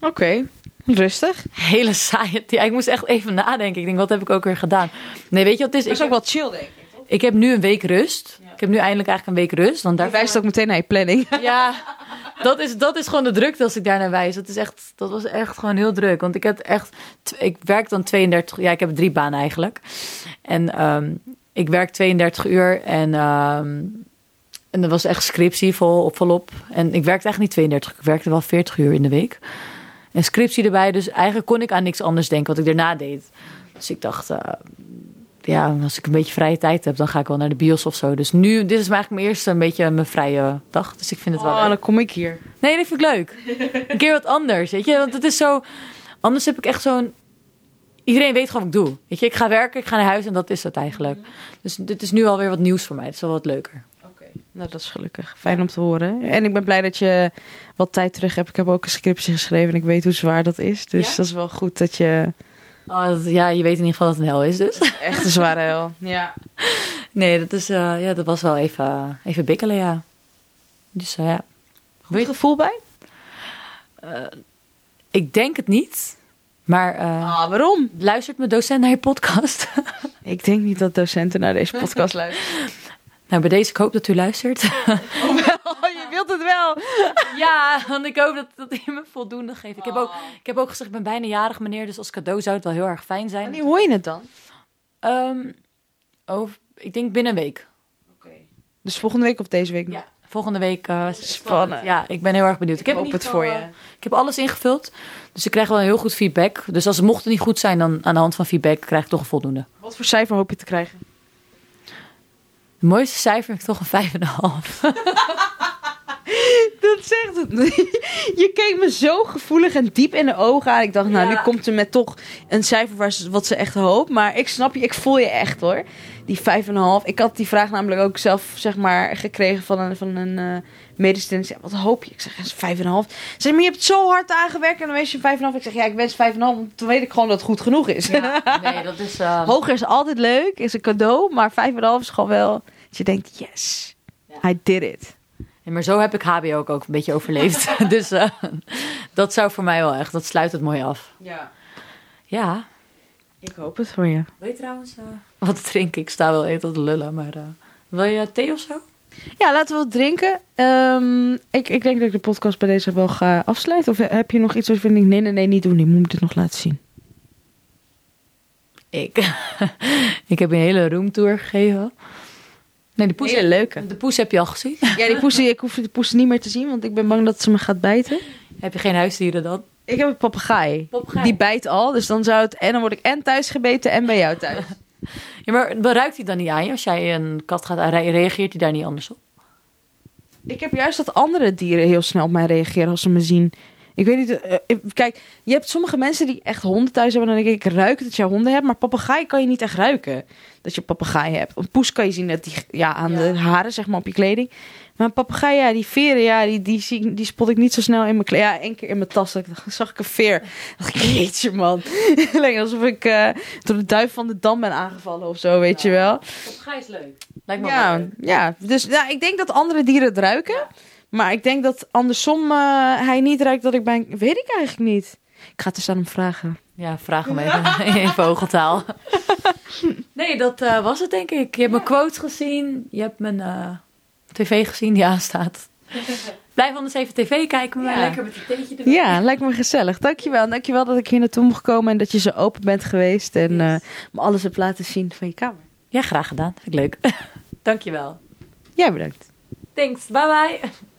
[SPEAKER 1] Oké, rustig.
[SPEAKER 2] Hele saai. Ja, ik moest echt even nadenken. Ik denk, wat heb ik ook weer gedaan? Nee, weet je wat het is?
[SPEAKER 1] Dat
[SPEAKER 2] Ik
[SPEAKER 1] is ook
[SPEAKER 2] heb,
[SPEAKER 1] wel chill denk ik. toch?
[SPEAKER 2] ik heb nu een week rust. Ik heb nu eindelijk eigenlijk een week rust. Want
[SPEAKER 1] Je
[SPEAKER 2] daar
[SPEAKER 1] wijst ook meteen naar je planning.
[SPEAKER 2] Ja, dat is, dat is gewoon de drukte als ik daarnaar wijs. Dat, is echt, dat was echt gewoon heel druk. Want ik heb echt. tw- Ik werk dan 32. Ja, ik heb drie banen eigenlijk. En ehm, ik werk 32 uur en. ehm, en dat was echt scriptie vol, volop. En ik werkte eigenlijk niet 32, ik werkte wel 40 uur in de week. En scriptie erbij, dus eigenlijk kon ik aan niks anders denken wat ik daarna deed. Dus ik dacht, eh, ja, als ik een beetje vrije tijd heb, dan ga ik wel naar de bios of zo. Dus nu, dit is eigenlijk mijn eerste een beetje mijn vrije dag. Dus ik vind het wel
[SPEAKER 1] Oh,
[SPEAKER 2] leuk.
[SPEAKER 1] dan kom ik hier.
[SPEAKER 2] Nee, dat vind ik leuk. Een keer wat anders, weet je. Want het is zo... Anders heb ik echt zo'n... Iedereen weet gewoon wat ik doe. Weet je, ik ga werken, ik ga naar huis en dat is het eigenlijk. Dus dit is nu alweer wat nieuws voor mij. Het is wel wat leuker.
[SPEAKER 1] Nou, dat is gelukkig. Fijn om te horen. En ik ben blij dat je wat tijd terug hebt. Ik heb ook een scriptje geschreven en ik weet hoe zwaar dat is. Dus
[SPEAKER 2] Ja?
[SPEAKER 1] dat is wel goed dat je
[SPEAKER 2] Oh, dat- ja, je weet in ieder geval dat het een hel is dus.
[SPEAKER 1] echt een zware hel. Ja.
[SPEAKER 2] <laughs> Nee, dat, is, eh, ja, dat was wel even, even bikkelen, ja. Dus eh, ja,
[SPEAKER 1] Goed gevoel bij?
[SPEAKER 2] ik denk het niet. Maar eh,
[SPEAKER 1] Ah, waarom?
[SPEAKER 2] luistert mijn docent naar je podcast? <laughs>
[SPEAKER 1] Ik denk niet dat docenten naar deze <laughs> podcast luisteren.
[SPEAKER 2] nou, bij deze, ik hoop dat u luistert.
[SPEAKER 1] Oh, je wilt het wel.
[SPEAKER 2] Ja, <laughs> want ik hoop dat, dat hij me voldoende geeft. Ik heb, ook,
[SPEAKER 1] Ah,
[SPEAKER 2] ik heb ook gezegd, ik ben bijna jarig meneer, dus als cadeau zou het wel heel erg fijn zijn.
[SPEAKER 1] Wanneer hoor je het dan?
[SPEAKER 2] Ehm, over, ik denk binnen een week.
[SPEAKER 1] Dus volgende week of deze week? nog?
[SPEAKER 2] Volgende week. eh,
[SPEAKER 1] Spannend.
[SPEAKER 2] ja, ik ben heel erg benieuwd. Ik, heb
[SPEAKER 1] hoop
[SPEAKER 2] in
[SPEAKER 1] het
[SPEAKER 2] ieder geval,
[SPEAKER 1] voor je.
[SPEAKER 2] eh, ik heb alles ingevuld, dus ik krijg wel een heel goed feedback. Dus als het mocht het niet goed zijn, dan aan de hand van feedback krijg ik toch een voldoende.
[SPEAKER 1] Wat voor cijfer hoop je te krijgen?
[SPEAKER 2] Het mooiste cijfer vind ik toch een 5,5.
[SPEAKER 1] <laughs> Dat zegt het niet. Je keek me zo gevoelig en diep in de ogen aan. Ik dacht, nou,
[SPEAKER 2] Ja.
[SPEAKER 1] nu komt ze met toch een cijfer waar ze, wat ze echt hoopt. Maar ik snap je, ik voel je echt hoor. Die 5,5. Ik had die vraag namelijk ook zelf, zeg maar, gekregen van een, van een eh medische dentist. Ja, Wat hoop je? Ik zeg, ja, 5,5. Ze zei, maar je hebt zo hard aangewerkt en dan wees je een 5,5. Ik zeg, ja, ik wens 5,5. want Toen weet ik gewoon dat het goed genoeg is.
[SPEAKER 2] Ja, nee, dat is... <laughs> eh,
[SPEAKER 1] <laughs> Hoger is altijd leuk, is een cadeau. Maar 5,5 is gewoon wel dat je denkt, yes,
[SPEAKER 2] Ja.
[SPEAKER 1] I did it.
[SPEAKER 2] Ja, maar zo heb ik HBO ook, ook een beetje <laughs> overleefd. dus eh, dat zou voor mij wel echt, dat sluit het mooi af.
[SPEAKER 1] Ja.
[SPEAKER 2] Ja.
[SPEAKER 1] Ik hoop het voor je.
[SPEAKER 2] Wil je trouwens wat drinken? Ik sta wel even tot lullen, maar eh, wil je thee of zo?
[SPEAKER 1] Ja, laten we wat drinken. Ehm, ik, ik denk dat ik de podcast bij deze wel ga afsluiten. Of heb je nog iets waarvan ik denk, nee, nee, nee, niet doen. Ik moet dit nog laten zien.
[SPEAKER 2] Ik, <laughs> ik heb een hele roomtour gegeven. Nee, de poes,
[SPEAKER 1] Hele leuke.
[SPEAKER 2] de poes heb je al gezien.
[SPEAKER 1] <laughs>
[SPEAKER 2] <laughs>
[SPEAKER 1] Ja, die poes, ik hoef de poes niet meer te zien, want ik ben bang dat ze me gaat bijten.
[SPEAKER 2] heb je geen huisdieren dan?
[SPEAKER 1] Ik heb een papegaai.
[SPEAKER 2] Papegaai.
[SPEAKER 1] Die bijt al, dus dan zou het... En dan word ik en thuis gebeten en bij jou thuis.
[SPEAKER 2] Ja, maar ruikt hij dan niet aan je? Als jij een kat gaat aanrijden, reageert hij daar niet anders op?
[SPEAKER 1] Ik heb juist dat andere dieren heel snel op mij reageren als ze me zien. Ik weet niet. eh, eh, kijk, je hebt sommige mensen die echt honden thuis hebben. Dan denk ik, ik ruik dat jij honden hebt. Maar papegaai kan je niet echt ruiken. Dat je papegaai hebt. Een poes kan je zien dat die, ja, aan
[SPEAKER 2] Ja.
[SPEAKER 1] de haren, zeg maar, op je kleding. Maar een papegaai, ja, die veren, ja, die, die, zie ik- die spot ik niet zo snel in mijn kleding. Ja, één keer in mijn tas dat ik, zag ik een veer. <laughs> Dacht ik, jeetje, man. <laughs> Lijkt alsof ik eh, door de duif van de dam ben aangevallen of zo, weet je wel.
[SPEAKER 2] Papegaai is leuk. Lijkt me wel
[SPEAKER 1] Ja,
[SPEAKER 2] leuk.
[SPEAKER 1] ja, dus ja, ik denk dat andere dieren het ruiken. Maar ik denk dat andersom eh, hij niet ruikt dat ik bij een- Weet ik eigenlijk niet. Ik ga het eens aan hem vragen.
[SPEAKER 2] Ja, vraag hem even <laughs> in vogeltaal.
[SPEAKER 1] <laughs>
[SPEAKER 2] Nee, dat
[SPEAKER 1] <laughs>
[SPEAKER 2] eh, was het denk ik. Je hebt mijn quotes gezien. Je hebt mijn eh, tv gezien die aanstaat. Blijf anders even tv kijken. Maar
[SPEAKER 1] Ja.
[SPEAKER 2] lekker met een theetje erbij.
[SPEAKER 1] Ja, lijkt me gezellig. Dankjewel. En Dankjewel dat ik hier naartoe mocht komen en dat je zo open bent geweest en eh, me alles hebt laten zien van je kamer.
[SPEAKER 2] Ja, graag gedaan. Vind ik leuk. <laughs> Dankjewel.
[SPEAKER 1] Jij bedankt.
[SPEAKER 2] Thanks. Bye bye.